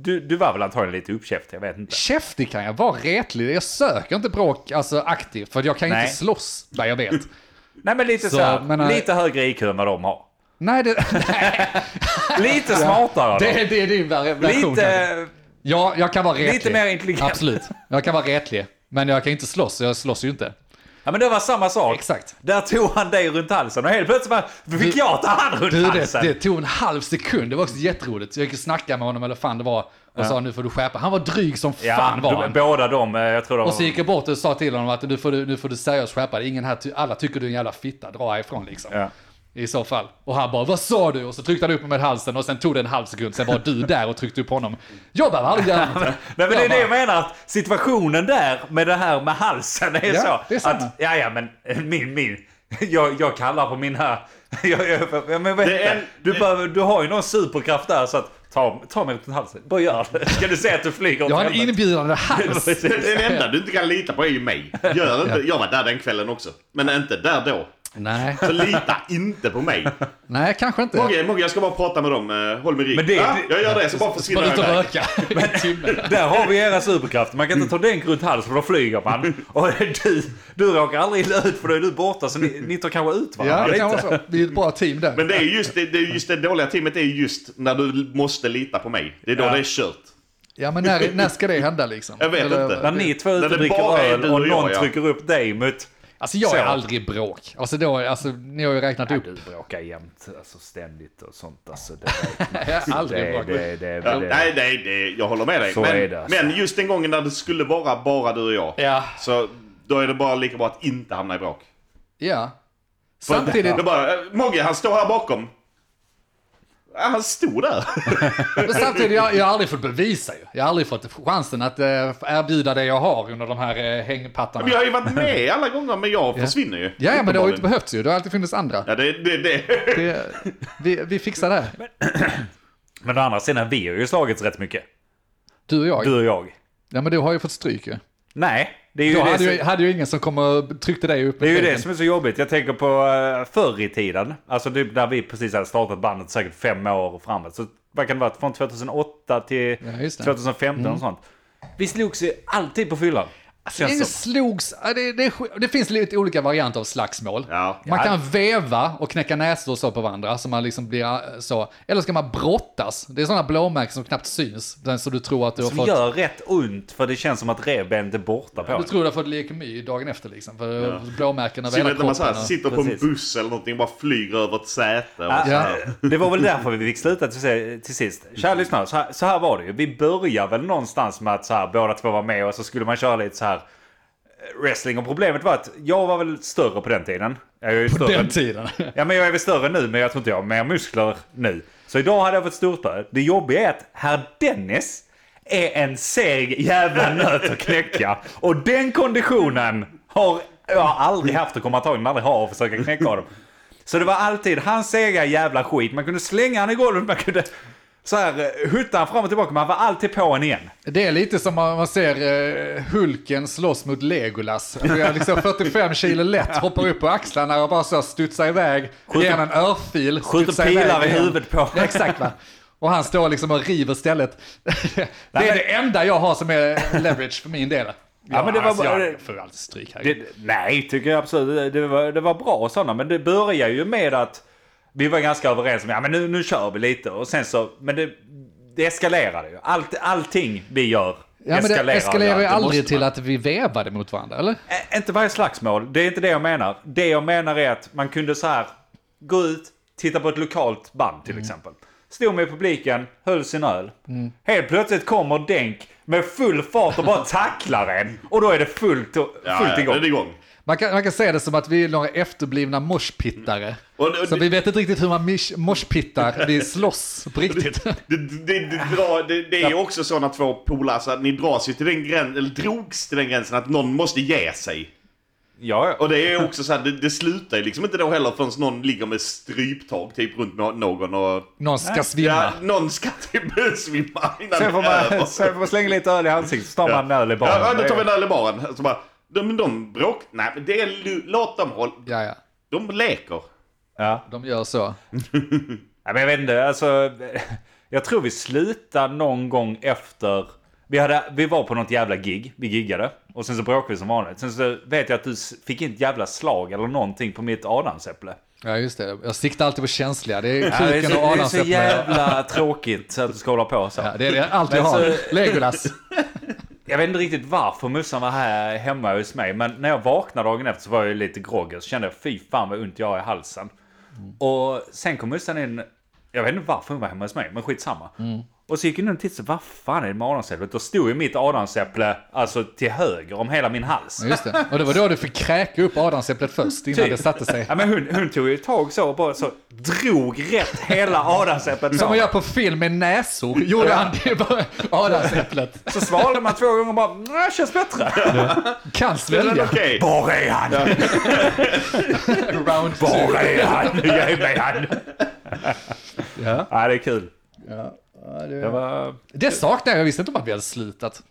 S1: Du, du var väl antagligen lite uppkäftig, jag vet inte.
S3: Käftig kan jag vara, retlig. Jag söker inte bråk alltså, aktivt, för jag kan ju
S1: Nej.
S3: inte slåss, vad jag vet.
S1: Nej men lite
S3: Så,
S1: så, här,
S3: men, eh,
S1: lite högre IQ än vad de har.
S3: Nej, det, nej,
S1: Lite smartare. av
S3: det,
S1: dem.
S3: det är din ver- version. kanske.
S1: Lite...
S3: Ja, jag kan vara retlig.
S1: mer intelligent.
S3: Absolut. Jag kan vara retlig. Men jag kan inte slåss, så jag slåss ju inte.
S1: Ja men det var samma sak.
S3: Exakt.
S1: Där tog han dig runt halsen och helt plötsligt bara, fick jag ta han runt
S3: Du, det,
S1: halsen.
S3: det tog en halv sekund, det var också jätteroligt. Så jag gick och snackade med honom, eller fan det var, och sa nu får du skärpa Han var dryg som
S1: ja,
S3: fan var
S1: de-
S3: han.
S1: båda de, eh, jag tror de
S3: Och så gick jag bort och sa till honom att nu får du, nu får du seriöst skärpa dig. Ingen här, ty- alla tycker du är en jävla fitta, dra härifrån liksom.
S1: Ja.
S3: I så fall. Och han bara, vad sa du? Och så tryckte han upp mig med halsen och sen tog det en halv sekund, sen var du där och tryckte upp honom. Jag behöver aldrig göra något.
S1: Nej men det är
S3: Jag
S1: det
S3: bara-
S1: jag menar, att situationen där med det här med halsen är
S3: Ja,
S1: så.
S3: det är samma.
S1: att, ja ja men eh, min, min. Jag, jag kallar på mina... Jag, jag, jag, men
S4: Det
S1: vänta,
S4: är en-
S1: du,
S4: det-
S1: behöver, du har ju någon superkraft där så att ta, ta mig runt halsen. Bara gör det. Ska du se att du flyger åt
S3: Jag har en
S1: helvete?
S3: inbjudande hals.
S4: Det är det enda du inte kan lita på är ju mig. Gör inte... Jag var där den kvällen också. Men inte där då.
S3: Nej,
S4: Så lita inte på mig.
S3: nej kanske inte.
S4: Mogge, Mogge, jag ska bara prata med dem. Eh, Håll mig rik.
S1: Men det-
S4: ja, jag gör det så bara försvinner
S3: Bara
S4: jag
S3: ut och
S4: iväg.
S3: röka i en timme.
S1: Där har vi era superkrafter. Man kan inte ta den runt halsen för då flyger man. Och du, du råkar aldrig illa ut för då är du borta så ni, ni tar kanske ut varandra
S3: Ja, det
S1: lite.
S3: kan vara så. Vi är ett bra team där.
S4: Men det är just det, det, är just det dåliga teamet är just när du måste lita på mig. Det är då
S1: Ja.
S4: det är kört.
S3: Ja, men när, när ska det hända liksom?
S4: Jag vet inte.
S1: När ni två är ute
S4: När
S1: och
S4: det
S1: dricker
S4: bara är du
S1: öl och
S4: och jag,
S1: någon
S4: ja.
S1: trycker upp dig mot...
S3: Alltså jag är
S1: Så.
S3: aldrig i bråk. Alltså, då, alltså ni har ju räknat
S1: Nej,
S3: upp.
S1: du bråkar jämt, alltså ständigt och sånt. Alltså, det,
S3: Jag är aldrig i
S1: det,
S3: bråk.
S1: det, det,
S4: Ja,
S1: det,
S4: nej, nej, det, jag håller med dig.
S1: Så
S4: men,
S1: är det, alltså.
S4: men just den gången när det skulle vara bara du och jag.
S3: Ja.
S4: Så då är det bara lika bra att inte hamna i bråk.
S3: Ja.
S4: För
S3: Samtidigt,
S4: Det är bara, eh, Mogge han står här bakom. Ja, Han stod där.
S3: Men samtidigt, jag, jag har aldrig fått bevisa ju. Jag har aldrig fått chansen att eh, erbjuda det jag har under de här eh, hängpattarna.
S4: Men jag har ju varit med alla gånger, men jag försvinner ju.
S3: Ja, ja, men det har ju inte
S4: Uppenbarligen.
S3: behövts ju. Det har alltid funnits andra.
S4: Ja, det, det, det.
S3: Det, vi, vi fixar det.
S1: Men å andra sidan, vi har ju slagits rätt mycket.
S3: Du och jag.
S1: Du och jag.
S3: Ja, men du har ju fått stryk ju.
S1: Nej, det är ju,
S3: Då
S1: det,
S3: hade
S1: som,
S3: ju, hade ju ingen som kom och tryckte dig upp.
S1: det, är ju det som är så jobbigt. Jag tänker på eh, förr i tiden. Alltså typ när vi precis hade startat bandet, säkert fem år framåt. Så vad kan det vara? Från 2008 till
S3: Ja, just det. Mm.
S1: 2015 och sånt. Vi slogs ju alltid på fyllan. Känns
S3: Ingen
S1: som.
S3: slogs, ja, det, det, det finns lite olika varianter av slagsmål.
S4: Ja.
S3: Man
S1: Ja.
S3: kan veva och knäcka näsor och så på varandra, så man liksom blir eh, så. Eller ska man brottas? Det är sådana blåmärken som knappt syns, den som du tror att du har
S1: Som
S3: fått.
S1: gör rätt ont för det känns som att revbenet är borta på
S3: Du
S1: en.
S3: tror du har fått leukemi dagen efter liksom, för blåmärken över hela
S4: Synnerhet när
S3: kroppen.
S4: man så här,
S3: och-
S4: sitter på en
S1: Precis.
S4: buss eller någonting och bara flyger över ett säte. Och
S1: Ja,
S4: så här.
S1: Eh, Det var väl därför vi fick sluta till, till sist. Kära lyssnare, så här, så här var det ju. Vi började väl någonstans med att så här, båda två var med och så skulle man köra lite så här eh, wrestling. Och problemet var att jag var väl större på den tiden. Jag är ju större.
S3: Den tiden.
S1: Ja, men jag är väl större nu, men jag tror inte jag har mer muskler nu. Så idag hade jag fått stortå. Det jobbiga är att herr Dennis är en seg jävla nöt att knäcka. Och den konditionen har jag aldrig haft och kommer antagligen aldrig ha och försöka knäcka dem. Så det var alltid hans sega jävla skit. Man kunde slänga han i golvet, man kunde så här eh, hutta han fram och tillbaka. Man var alltid på en igen.
S3: Det är lite som man man ser eh, Hulken slåss mot Legolas. Alltså, jag är liksom 45 kilo lätt, hoppar upp på axlarna och bara så studsar iväg. Ger han en örfil.
S1: skjuter
S3: studsar
S1: pilar
S3: iväg
S1: i
S3: igen.
S1: huvudet på.
S3: Ja, exakt va. Och han står liksom och river stället. Det är
S1: men-
S3: det enda jag har som är leverage för min del. Ja,
S1: men det var
S3: alltså,
S1: bara-
S3: Jag får ju alltid stryk här.
S1: Det, nej, tycker jag absolut. Det- Det var, det var bra och sådana, men det börjar ju med att vi var ganska överens om ja, men nu, nu kör vi lite och sen så, men det, det eskalerade ju. Allt, allting vi gör
S3: ja, men det eskalerar ju
S1: Det måste
S3: aldrig
S1: man.
S3: till att vi vevade mot varandra, eller?
S1: Ä- Inte varje slagsmål, det är inte det jag menar. Det jag menar är att man kunde så här gå ut, titta på ett lokalt band
S3: Mm.
S1: till exempel. Stod med i publiken, höll sin öl. Helt plötsligt kommer Denk med full fart och bara tacklar en. Och då är det fullt, fullt
S4: Ja, ja,
S1: igång.
S4: det är igång.
S3: Man kan, man kan säga det som att vi är några efterblivna moshpittare.
S4: Och- och
S3: Så
S4: det-
S3: vi vet inte riktigt hur man mish- moshpittar, vi slåss på riktigt.
S4: Det, det, det, drar- det, det är ju också så när två polare, så att ni dras ju till den gränsen, eller drogs till den gränsen att någon måste ge sig.
S1: Ja, ja.
S4: Och det är också så här, det, det slutar ju liksom inte då heller förrän någon ligger med stryptag typ runt nå- någon och...
S3: Någon ska
S4: Ja,
S3: svimma.
S4: någon ska typ svimma innan
S1: Sen får,
S4: det är över.
S1: man, sen får man slänga lite öl i ansiktet, så tar man en öl i baren.
S4: Ja, ja, då tar vi en öl i baren. Så Alltså bara, de, men de bråk... Nej, men det är... lu- Låt dem hålla...
S3: Ja, ja.
S4: De leker.
S1: Ja.
S3: De gör så.
S1: Ja, men jag vet inte, alltså. Jag tror vi slutade någon gång efter... Vi, hade, vi var på något jävla gig, vi giggade. Och sen så bråkade vi som vanligt. Sen så vet jag att du s- fick in ett jävla slag eller någonting på mitt adamsäpple.
S3: Ja, just det. Jag siktar alltid på känsliga. Det är
S1: Ja, det, är
S3: kuken
S1: så,
S3: och
S1: det är så
S3: adamsäpplet.
S1: jävla tråkigt så att du ska hålla på så.
S3: Ja, det är det allt jag
S1: Men
S3: har.
S1: så-
S3: Legolas.
S1: Jag vet inte riktigt varför mussan var här hemma hos mig. Men när jag vaknade dagen efter så var jag ju lite groggy. och Så kände jag fy fan vad ont jag har i halsen. Och sen kom mussan in. Jag vet inte varför hon var hemma hos mig, men skitsamma. Och så gick hon in och tittade. så, Vad fan är det med adamsäpplet? Då stod ju mitt adamsäpple alltså till höger om hela min hals.
S3: Ja, Just det. Och det var då du fick kräka upp adamsäpplet först, innan
S1: Typ.
S3: det satte sig.
S1: Ja, men hon, hon tog ju tag så och bara så drog rätt hela adamsäpplet på
S3: Som man
S1: mig.
S3: gör på film med näsor, gjorde han det på adamsäpplet.
S1: Så svalde man två gånger och bara, "Nej, känns bättre.
S3: Kan
S4: Eller
S3: svälja.
S4: okej.
S1: Var är han?
S3: Round two.
S1: Var är han? Ge mig han!
S3: Ja.
S1: Ja, det är kul.
S3: Ja.
S1: Det var...
S3: Det saknar jag. Jag visste inte om att vi hade slutat.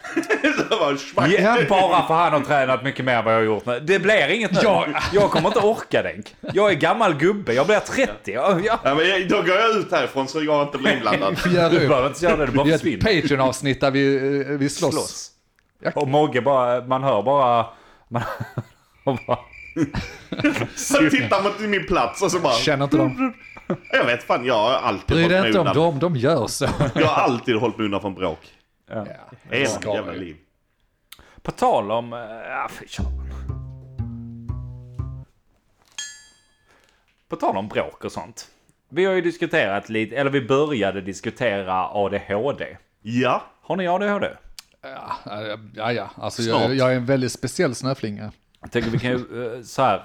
S4: Det var schmack.
S1: Ja, bara för han har tränat mycket mer än vad jag har gjort nu. Det blir inget nu. Jag, jag kommer inte orka Denk. Jag är gammal gubbe, jag blir 30. Jag, jag,
S4: Ja, men jag- då går jag ut härifrån så jag inte blir inblandad.
S3: Gör
S1: du
S3: upp.
S1: behöver inte göra det, du bara
S3: Vi gör ett
S1: försvinner.
S3: Patreon-avsnitt där vi, eh, vi slåss.
S1: Slåss. Och Mogge bara, man hör bara... Man, och bara
S4: Så tittar man till min plats och så bara...
S3: Känner inte dem.
S4: Jag vet fan, jag har alltid
S3: Bry
S4: hållit
S3: dig
S4: mig
S3: inte om
S4: undan.
S3: dem, de gör så.
S4: Jag har alltid hållit mig undan från bråk. Hela mitt
S3: Ska
S4: jävla
S3: vi.
S4: liv.
S1: på tal om... eh, Ja, fy kör. På tal om bråk och sånt. Vi har ju diskuterat lite, eller vi började diskutera ADHD.
S4: Ja.
S1: Har ni ADHD?
S3: Ja, ja, ja. Alltså,
S4: Snart.
S3: jag, jag är en väldigt speciell snöflinga.
S1: Jag tänker vi kan ju, eh, så här, eh,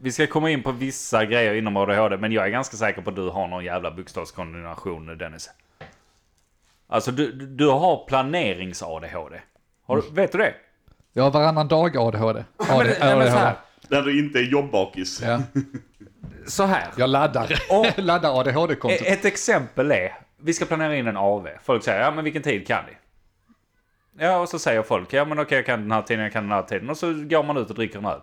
S1: vi ska komma in på vissa grejer inom ADHD, men jag är ganska säker på att du har någon jävla bokstavskombination Dennis. Alltså du, du- du har planerings-ADHD. Har du, vet du det?
S3: Jag har varannan dag ADHD.
S1: men,
S3: ADHD.
S1: nej, men så, här,
S4: Där du inte är jobbakis.
S3: Ja.
S1: så här.
S3: Jag laddar.
S1: Och-
S3: laddar ADHD-kontot.
S1: Ett exempel är, vi ska planera in en AV. Folk säger, ja men vilken tid kan ni? Ja, och så säger folk, ja men okej jag kan den här tiden, jag kan den här tiden. Och så går man ut och dricker en öl.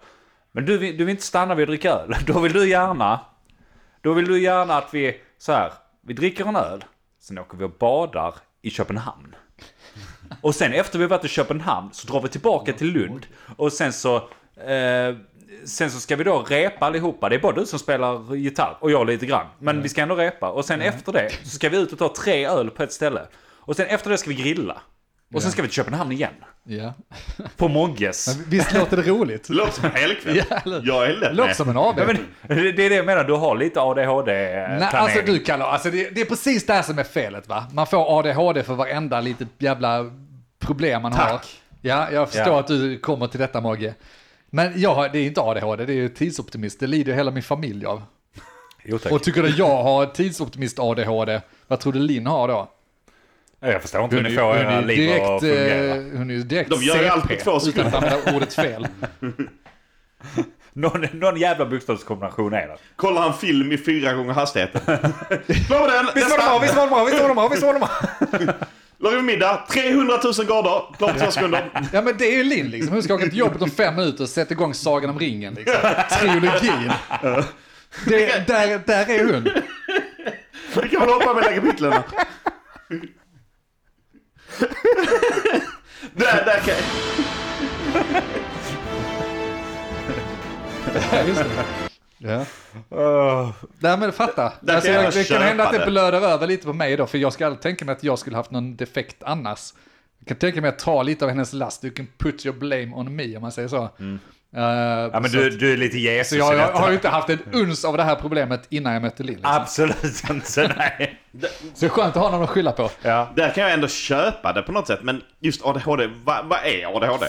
S1: Men du, vill- du vill inte stanna vid att dricka öl. Då vill du gärna, då vill du gärna att vi, så här, vi dricker en öl. Sen åker vi och badar i Köpenhamn. Och sen efter vi varit i Köpenhamn så drar vi tillbaka till Lund. Och sen så... Eh, sen så ska vi då repa allihopa. Det är bara du som spelar gitarr och jag lite grann. Men vi ska ändå repa. Och sen efter det så ska vi ut och ta tre öl på ett ställe. Och sen efter det ska vi grilla. Och sen ska vi till Köpenhamn igen.
S3: Ja.
S1: På Mogges.
S3: Visst låter det roligt?
S4: Det låter som en helkväll.
S3: Ja, eller-
S4: Jag är lätt
S3: Det låter som en AD.
S1: Ja, men, det är det jag menar, du har lite
S3: Nej,
S1: ADHD-planering.
S3: alltså du Kalle, alltså det, det är precis det här som är felet va? Man får ADHD för varenda litet jävla problem man har. Ja, jag förstår
S1: Ja.
S3: att du kommer till detta Mogge. Men jag har, det är inte ADHD, det är ju tidsoptimist. Det lider hela min familj av.
S1: Jo, tack.
S3: Och tycker du jag har tidsoptimist-ADHD, vad tror du Lin har då?
S1: Ja, jag förstår inte hur ni får era
S3: är ju
S1: liv att fungera.
S3: eh, hon är ju direkt
S4: De gör ju allt på
S3: CP,
S4: två
S3: Utan att
S4: sekunder.
S3: använda ordet fel.
S1: Någon, någon jävla bokstavskombination är det.
S4: Kollar han film i fyra gånger hastigheten. Klar med den!
S1: Visst var de bra, visst var de bra, visst var de bra, visst var de bra.
S4: Lagar vi middag, 300 000 grader, klar på två sekunder.
S3: Ja men det är ju Linn liksom, hon ska åka till jobbet om fem minuter och sätta igång Sagan om ringen liksom. Trilogin. Det, där, där är hon.
S4: Vi kan väl hoppa mellan kapitlen. där, där kan...
S3: Ja, just det. Ja. Nej men fatta.
S4: Där
S3: alltså,
S4: kan
S3: jag,
S4: jag
S3: det kan
S4: köpa
S3: hända att det
S4: det.
S3: blöder över lite på mig då, för jag skulle aldrig tänka mig att jag skulle haft någon defekt annars. Jag kan tänka mig att ta lite av hennes last. Du can put your blame on me om man säger så. Eh,
S1: Mm. Ja, men
S3: så
S1: du,
S3: att-
S1: du är lite Jesus
S3: så jag,
S1: i
S3: jag
S1: detta.
S3: har ju inte haft en uns av det här problemet innan jag mötte Linn. Liksom.
S1: Absolut inte, nej.
S3: Så det är skönt att ha någon att skylla på.
S1: Ja.
S4: Där kan jag ändå köpa det på något sätt, men just ADHD, vad vad är ADHD?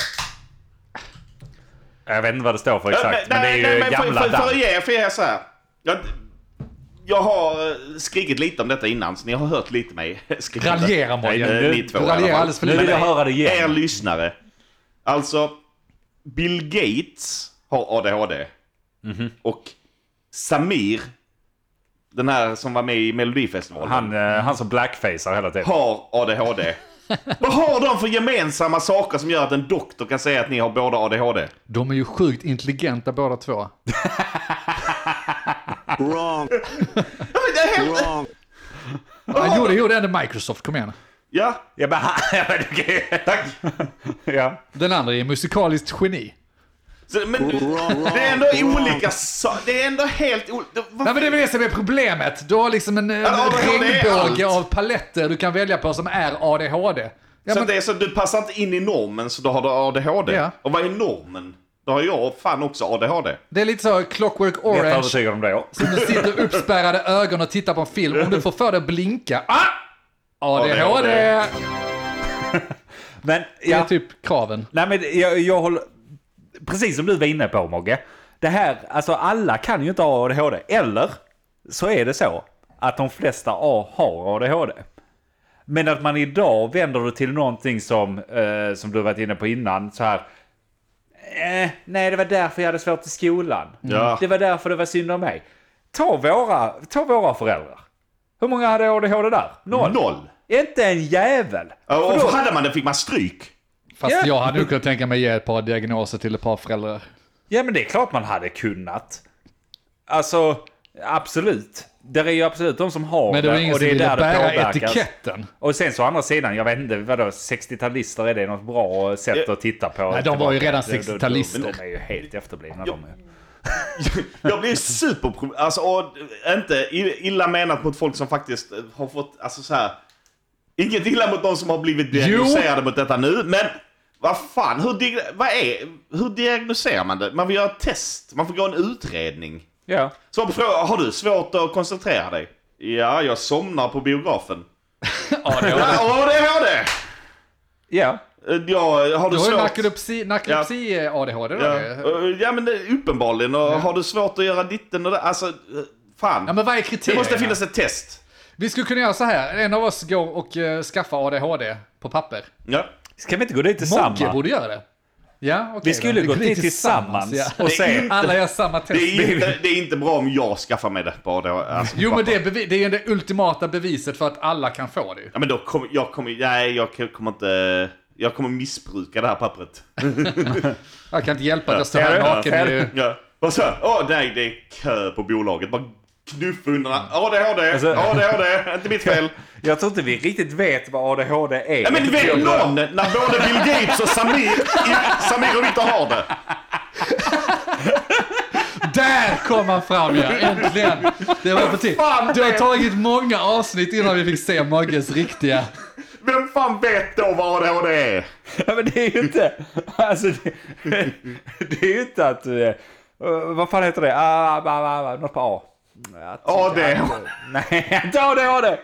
S1: Jag vet inte vad det står för exakt, men det är ju
S4: Äh, nej, men
S1: gamla
S4: för, för, för,
S1: damm.
S4: att ge, för att ge så här. Jag, jag har eh, skrikit lite om detta innan, så ni har hört lite mig skrika.
S3: Raljera
S4: Eh,
S3: Morgan.
S1: nu-
S4: Ni två
S3: du
S4: i alla
S3: raljerar
S4: fall.
S3: alldeles för
S1: Nu
S3: lite.
S1: vill jag höra det
S4: Er
S1: igen.
S4: lyssnare. Alltså, Bill Gates har ADHD.
S3: Mhm.
S4: Och Samir, den här som var med i Melodifestivalen,
S1: Han, eh, han som blackfacear hela tiden.
S4: har ADHD. Vad har de för gemensamma saker som gör att en doktor kan säga att ni har båda ADHD?
S3: De är ju sjukt intelligenta båda två.
S4: Ja, men det är helt...
S3: Han gjorde, gjorde ändå Microsoft, kom igen.
S4: Ja,
S1: Ja, men, han- ja, men, okej.
S4: tack.
S1: ja.
S3: Den andra är musikaliskt geni.
S4: Så, men, det är ändå olika saker. Det är ändå helt olika.
S3: Nej men det är väl det som är problemet. Du har liksom en, en
S4: Ja, men det är allt.
S3: regnbåge av paletter du kan välja på som är ADHD. Ja,
S4: Så
S3: men,
S4: att det är så att du passar inte in i normen så då har du ADHD.
S3: Ja.
S4: Och vad är normen? Då har jag fan också ADHD.
S3: det är lite så clockwork
S1: Rätt
S3: orange.
S1: övertygad om det. ja.
S3: Som du sitter uppspärrade ögon och tittar på en film. Om du får för dig att blinka. Ah! ADHD!
S1: Men,
S3: Det är
S1: ja.
S3: typ kraven.
S1: Nej, men jag, jag håller... Precis som du var inne på, Mogge. Det här, alltså alla kan ju inte ha ADHD. Eller så är det så att de flesta A har ADHD. Men att man idag vänder det till någonting som, eh, som du varit inne på innan, så här. Eh, nej, det var därför jag hade svårt i skolan.
S4: Mm. Ja.
S1: Det var därför det var synd om mig. Ta våra, ta våra föräldrar. Hur många hade ADHD där? Noll.
S4: Noll.
S1: Inte en jävel.
S4: Mm. Ja,
S1: För
S4: Och
S1: då-
S4: hade man det fick man stryk.
S3: Fast
S1: Ja.
S3: jag hade nog kunnat tänka mig ge ett par diagnoser till ett par föräldrar.
S1: Ja, men det är klart man hade kunnat. Alltså, absolut. Det är ju absolut de som har
S3: Men det var ingen
S1: och
S3: som
S1: det är
S3: ville
S1: där det
S3: bära
S1: påverkas.
S3: etiketten.
S1: Och sen så å andra sidan, jag vet inte, vadå, 60-talister, är det något bra sätt att titta på?
S3: Nej, de var ju redan
S1: Det- det-
S3: 60-talister.
S1: De, de är ju helt efterblivna de. är.
S4: Jag blir super... Alltså, och, inte i- illa menat mot folk som faktiskt har fått... Alltså så här... Inget illa mot de som har blivit diagnoserade mot detta nu, men... Vad fan, hur, dig, vad är, hur diagnoserar man det? Man får göra ett test, man får gå en utredning.
S1: Ja.
S4: Svar på frågan, har du svårt att koncentrera dig? Ja, jag somnar på biografen.
S1: Ja, det var-
S4: Ja, det har det!
S1: ja.
S4: Eh, Ja, har du,
S3: Du har ju
S4: svårt...
S3: narkolepsi, narkolepsi-ADHD då.
S4: Ja,
S3: Ja.
S4: eh, ja men det, uppenbarligen. Och har du svårt att göra ditten och det, alltså... eh, Fan.
S3: ja, men vad är
S4: det
S3: kriterierna?
S4: måste finnas ett test.
S3: Vi skulle kunna göra så här. En av oss går och eh, skaffar ADHD på papper.
S4: Ja.
S1: Ska vi inte gå dit tillsammans?
S3: Mogge borde göra det. Ja, okej
S1: Vi
S3: då.
S1: skulle gå
S3: går
S1: dit tillsammans
S3: ja.
S1: och
S4: Det är
S1: se.
S4: inte-
S3: Alla gör samma test.
S4: Det är, inte, det är inte bra om jag skaffar mig det. Bara då, alltså,
S3: Jo,
S4: bara-
S3: men det är, bevi- det är ju det ultimata beviset för att alla kan få det ju.
S4: Ja, men då kommer jag kommer... Nej, jag kommer inte... Jag kommer missbruka det här pappret.
S3: Jag kan inte hjälpa att jag står
S1: Är
S3: här
S1: det? Är
S3: naken.
S1: det?
S3: ju.
S4: Ja. Och så, åh nej, det är kö på bolaget. Bara knuffa undan. ADHD,
S1: Alltså-
S4: ADHD, inte mitt fel.
S1: Jag tror inte vi riktigt vet vad ADHD är.
S4: Nej men vet någon när både Bill Gates och Samir, i- Samir och Viktor har det.
S3: Där kom han fram ja, äntligen! Det var på tid.
S4: Fan,
S3: Det har
S4: det-
S3: tagit många avsnitt innan vi fick se Mogges riktiga...
S4: Vem fan vet då vad ADHD är?
S1: Ja, men det är ju inte... Alltså, det, det är ju inte att... eh, vad fan heter det? Ah, ah, ah, ah, något på A.
S4: AD.
S1: Nej, inte ADHD!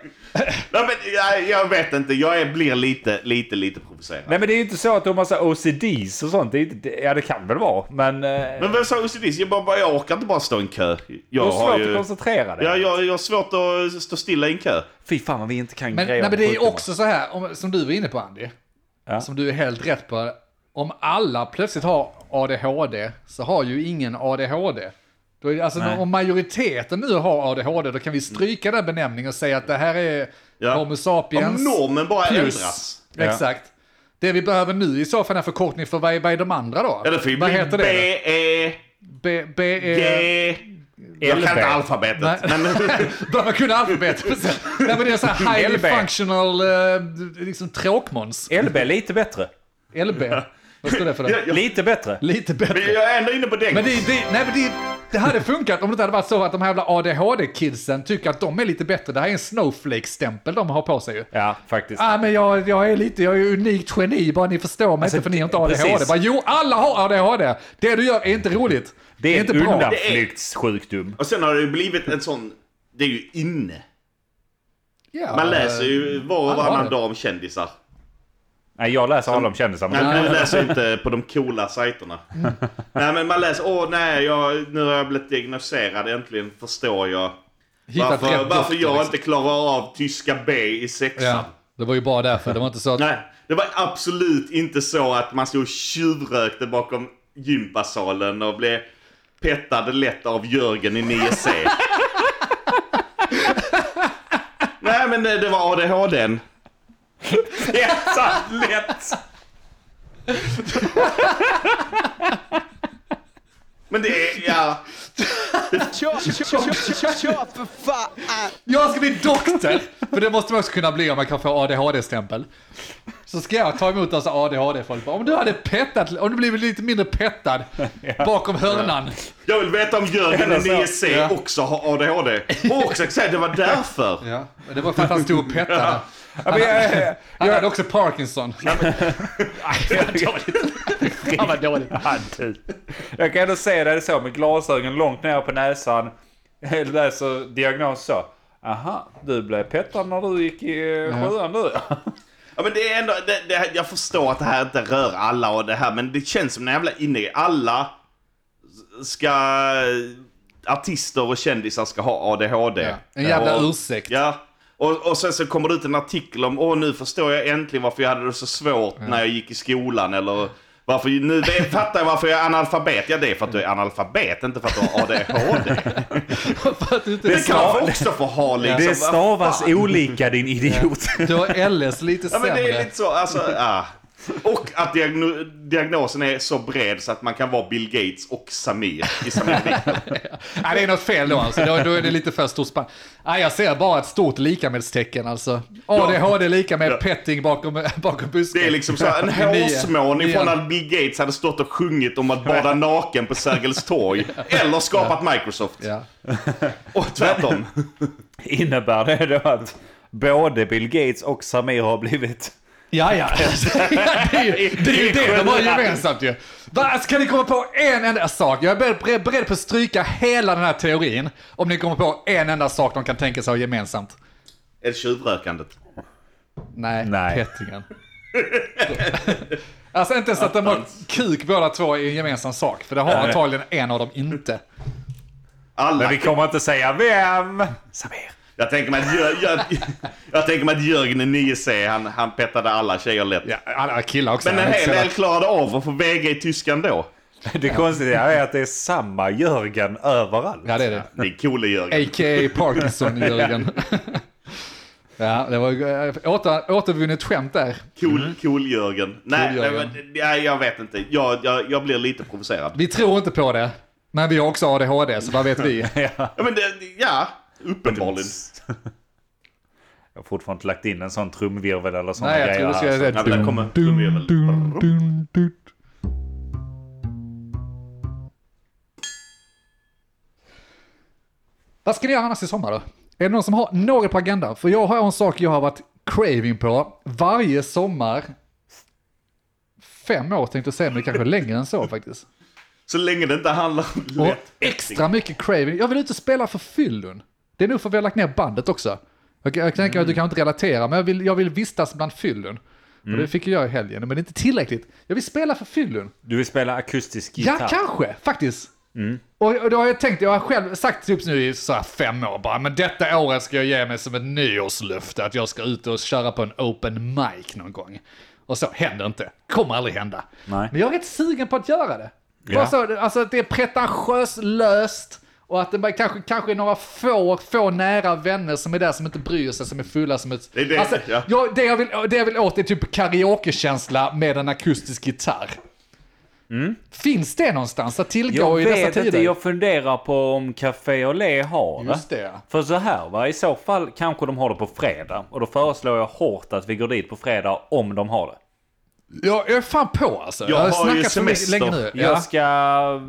S4: Nej men jag, jag vet inte, jag är, blir lite, lite, lite provocerad.
S1: Nej men det är ju inte så att du har massa OCDs och sånt. Det är inte, det, ja det kan väl vara, men... eh,
S4: Men vem sa OCD? Jag, bara, bara- jag orkar inte bara stå i en kö.
S1: Du
S4: Jag
S1: har
S4: har
S1: svårt att
S4: ju...
S1: koncentrera dig.
S4: Ja, jag, jag har svårt att stå stilla i en kö.
S1: Fy fan vad vi inte kan
S3: Men,
S1: grejer
S3: nej, men
S1: med
S3: det är
S1: sjukdomar.
S3: också så här, om, som du var inne på Andy,
S1: Ja.
S3: som du är helt rätt på. Om alla plötsligt har ADHD så har ju ingen ADHD. Då är, det- alltså,
S1: Nej.
S3: om majoriteten nu har ADHD då kan vi stryka den benämningen och säga att det här är
S4: Ja.
S3: Homo
S4: Om
S3: sapiens.
S4: normen bara
S3: plus.
S4: ändras.
S1: Ja.
S3: Exakt. Det vi behöver nu i så fall är en förkortning för vad är, vad är de andra då?
S4: Ja, det får ju
S3: vad
S4: bli
S3: heter det?
S4: B, E,
S3: B, B, E...
S4: G... Jag kan inte alfabetet.
S3: Nej.
S4: Men...
S3: Bör man kunna alfabetet? Nej men det är så här highly
S1: LB.
S3: functional eh, liksom tråkmåns.
S1: LB är lite bättre.
S3: LB. Vad står det för?
S4: Ja,
S3: Det?
S4: ja.
S1: Lite bättre.
S3: Lite
S4: Men
S3: bättre.
S4: jag är ändå inne på det.
S3: Men det, det, nej, men det, det hade funkat om det inte hade varit så att de här jävla ADHD-kidsen tycker att de är lite bättre. Det här är en snowflake-stämpel de har på sig ju.
S1: Ja, faktiskt.
S3: Ah, men jag, jag är lite, jag är unikt geni bara ni förstår
S4: Alltså,
S3: mig inte för ni har inte ADHD.
S1: precis.
S3: Bara, jo, alla har ADHD. Det du gör är inte roligt.
S1: det är,
S3: inte
S1: en
S3: bra.
S1: undanflyktssjukdom.
S4: Och sen har det ju blivit en sån... Det är ju inne.
S3: Ja, eh,
S4: Man läser ju var och
S3: alla har
S4: varannan
S3: det.
S4: dag om kändisar.
S1: Nej, jag läser alla om kändisar. men-
S4: Nej, du läser inte på de coola sajterna.
S3: Mm.
S4: Nej, men man läser... Åh, nej, jag, nu har jag blivit diagnostiserad. Äntligen förstår jag
S3: Hittat
S4: varför,
S3: rätt
S4: varför
S3: doktor,
S4: jag
S3: liksom.
S4: inte klarar av tyska B i sexan.
S3: Ja, det var ju bara därför. Det var inte så att...
S4: Nej, det var absolut inte så att man stod och tjuvrökte bakom gympasalen och blev pettad lätt av Jörgen i 9C. Nej, men det det var ADHDn.
S1: Pettad lätt!
S4: Men det är, ja.
S5: Kör, kör, kör, kör, kör för fan!
S3: Jag ska bli doktor! För det måste man också kunna bli om man kan få ADHD-stämpel. Så ska jag ta emot alltså ADHD-folk. Bara, Om du hade pettat, om du blivit lite mindre pettad bakom hörnan.
S4: Jag vill veta om Jörgen i
S1: Eller så.
S4: 9C
S3: Ja.
S4: också har ADHD. Och också säga det var därför.
S3: Ja, men det var för att han stod och pettade.
S1: Ja, men jag-
S3: Han hade också Parkinson.
S1: jag-
S3: Han var dålig.
S1: Ja, du. Jag kan ändå säga det så med glasögon långt ner på näsan. Läser diagnos så. Aha, du blev pettad när du gick i eh, sjuan du.
S4: Ja, men det är ändå, det, det, jag förstår att det här inte rör alla och det här, men det känns som en jävla inne. Alla ska... Artister och kändisar ska ha ADHD.
S3: Ja, en jävla
S4: och,
S3: ursäkt.
S4: Ja. Och, och sen så kommer det ut en artikel om åh nu förstår jag äntligen varför jag hade det så svårt när jag gick i skolan eller varför nu vet- fattar jag varför jag är analfabet. Ja det är för att du är analfabet, inte för att du har ADHD.
S3: För att du inte...
S4: Det kan man också få ha liksom.
S1: Det stavas olika din idiot.
S3: Du har LS lite
S4: Ja, men det är
S3: sämre.
S4: lite så. Alltså, ah. Och att diagno diagnosen är så bred så att man kan vara Bill Gates och Samir i samma vikt.
S3: Nej, det är något fel då alltså. Då, då är det lite för stort spann. Nej, jag ser bara ett stort likamedelstecken alltså. ADHD lika med petting bakom, bakom busken.
S4: Det är liksom så här en
S3: Nio.
S4: hårsmån ifrån
S3: Nio.
S4: att Bill Gates hade stått och sjungit om att bada naken på Sergels torg. Eller skapat Microsoft.
S3: Ja.
S4: Och tvärtom.
S1: Innebär det då att både Bill Gates och Samir har blivit...
S3: Ja, ja. det är ju det, är ju det de har gemensamt ju. Va, Ska ni komma på en enda sak? Jag är beredd, beredd på att stryka hela den här teorin om ni kommer på en enda sak de kan tänka sig ha gemensamt.
S4: Eller tjuvrökandet.
S3: Nej,
S1: Nej.
S3: pettingen. Alltså inte ens att de har kuk båda två i en gemensam sak, för det har antagligen en av dem inte.
S4: Alla
S1: Men vi kommer inte säga vem. Samir.
S4: Jag tänker mig att, Jör, jag, jag tänker mig att Jörgen i 9C, han, han petade alla tjejer lätt.
S3: Ja, alla killar också.
S4: Men en hel
S3: Så-
S4: del klarade av att få väga i tyskan då.
S1: Det konstiga är att det är samma Jörgen överallt.
S3: Ja, det är det.
S4: Det är coole Jörgen.
S3: A.k.a. Parkinson-Jörgen. ja, det var eh, åter, återvunnet skämt där.
S4: Cool, cool Jörgen. Nej,
S3: Mm. Cool
S4: nej,
S3: Jörgen.
S4: men, nej, jag vet inte. Jag, jag, jag blir lite provocerad.
S3: Vi tror inte på det, men vi har också ADHD, så vad vet vi?
S4: Ja, men det, ja uppenbarligen.
S1: Jag har fortfarande inte lagt in en sån trumvirvel eller såna
S3: Nej, jag
S1: grejer
S3: tror du ska göra
S1: här.
S3: det.
S4: Ja, men där kommer...
S3: Dun,
S4: de är väl-
S3: dun, dun, dun. Vad ska ni göra annars i sommar då? Är det någon som har något på agendan? För jag har en sak jag har varit craving på varje sommar. Fem år tänkte jag säga, men det kanske är längre än så faktiskt.
S4: Så länge det inte handlar om
S3: Och
S4: lätt.
S3: extra mycket craving. Jag vill ut och spela för fyllon. Det är nog för att vi har lagt ner bandet också. Jag, jag tänker att du kan inte relatera, men jag vill, jag vill vistas bland fyllon. Och det fick jag i helgen, men det är inte tillräckligt. Jag vill spela för fyllon.
S1: Du vill spela akustisk
S3: Ja,
S1: gitarr?
S3: kanske, faktiskt.
S4: Mm.
S3: Och, och då har jag tänkt, jag har själv sagt typ nu i så här fem år bara, men detta året ska jag ge mig som ett nyårslöfte att jag ska ut och köra på en open mic någon gång. Och så händer inte, kommer aldrig hända.
S1: Nej.
S3: Men jag är rätt sugen på att göra det.
S1: Ja.
S3: Bara så, alltså att det är pretentiöst löst och att det bara kanske, kanske är några få, få nära vänner som är där som inte bryr sig, som är fulla som ett...
S4: Det är det,
S3: alltså,
S4: ja.
S3: jag, det, jag vill, det jag vill åt är typ karaokekänsla med en akustisk gitarr. Finns det någonstans att tillgå
S1: Jag
S3: i dessa
S1: vet
S3: tider?
S1: inte, jag funderar på om Café Olé har
S3: Just det, ja.
S1: För så här va, i så fall kanske de har det på fredag. Och då föreslår jag hårt att vi går dit på fredag om de har det.
S3: Jag, jag är fan på alltså.
S4: Jag
S3: har
S4: har ju
S3: snackat för mycket-
S4: semester.
S3: länge nu. Ja.
S1: Jag ska,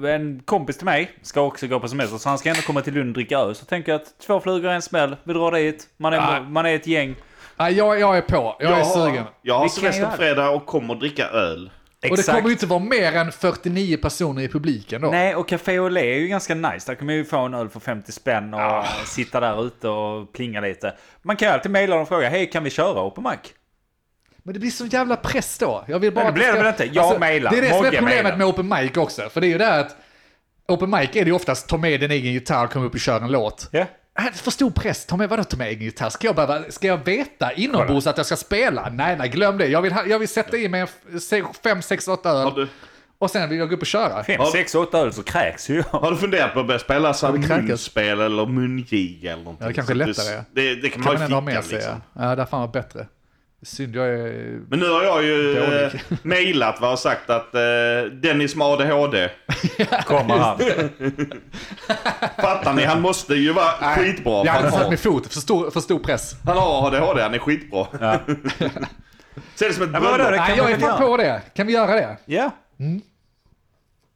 S1: en kompis till mig ska också gå på semester så han ska ändå komma till Lund och dricka öl. Så tänker jag att två flugor i en smäll, vi drar dit, man är,
S3: Ja.
S1: man är ett gäng.
S3: Ja, jag, jag är på, jag, är sugen.
S4: Jag har
S1: Vi kan
S4: semester
S1: göra
S4: på
S1: det.
S4: fredag och kommer dricka öl.
S3: Och det kommer ju inte vara mer än 49 personer i publiken då.
S1: Nej, och Café Olé är ju ganska nice. Där kan man ju få en öl för 50 spänn och sitta där ute och plinga lite. Man kan ju alltid mejla dem och fråga, hej kan vi köra open mic?
S3: Men det blir sån jävla press då. Jag vill bara
S1: Men det
S3: att
S1: blir det
S3: ska- Alltså,
S1: väl inte? Jag mailar.
S3: Det är det som är
S1: Mogge
S3: problemet
S1: mailar.
S3: med open mic också. För det är ju det att open mic är det ju oftast ta med din egen gitarr och kom upp och kör en låt.
S1: Ja.
S3: Äh, För stor press, ta med vadå ta med egen gitarr? Ska jag, behöva, ska jag veta inombords att jag ska spela? Nej, nej, glöm det. Jag vill, ha- jag vill sätta i mig en f- se- fem, sex, åtta
S4: Har
S3: öl
S4: du,
S3: och sen vill jag gå upp och köra.
S1: Fem, sex, åtta öl så kräks ju jag.
S4: har du funderat på att börja spela så här
S3: det kräkas.
S4: munspel eller mungiga eller någonting?
S3: Ja, det kanske är
S4: Så att
S3: lättare, ja.
S4: Du, det, det kan man
S3: Kan man
S4: ju
S3: ändå ha
S4: ficka
S3: med sig.
S4: liksom.
S3: Ja, ja det är fan var bättre. Synd, jag är...
S4: Men nu har jag ju eh,
S3: Dålig.
S4: mejlat va, och sagt att eh, Dennis med ADHD,
S1: Kommer han.
S4: fattar ni? Han måste ju vara skitbra.
S3: Jag
S4: för
S3: hade
S4: han,
S3: satt
S4: har,
S3: min fot, för stor, för stor press.
S4: han har ADHD, han är skitbra. Ser det som ett
S1: men vadå,
S4: bönder.
S1: det- kan
S3: Nej,
S1: man
S3: jag är
S1: väl
S3: fan
S1: göra.
S3: på det. Kan vi göra det?
S1: Ja.
S3: Mm.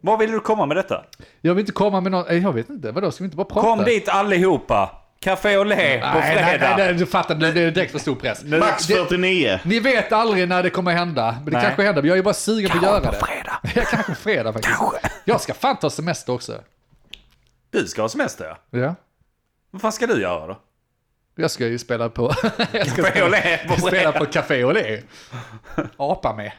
S1: Vad vill du komma med detta?
S3: Jag vill inte komma med något, jag vet inte, vadå ska vi inte bara prata?
S1: Kom dit allihopa! Café Olé på
S3: Nej, nej, nej,
S1: fredag.
S3: nej, du fattar, det blir direkt för stor press.
S4: Max
S3: Det-
S4: 49.
S3: Ni vet aldrig när det kommer hända, men det
S1: Nej.
S3: kanske händer. Men jag är bara sugen på att göra det.
S1: fredag.
S3: Ja, kanske fredag faktiskt. Jag ska fan ta semester också.
S1: Du ska ha semester ja.
S3: Ja.
S1: Vad fan ska du göra då?
S3: Jag ska ju spela på... jag ska
S1: Café
S3: spela,
S1: Olé på
S3: spela
S1: fredag.
S3: på Café Olé. Apa med.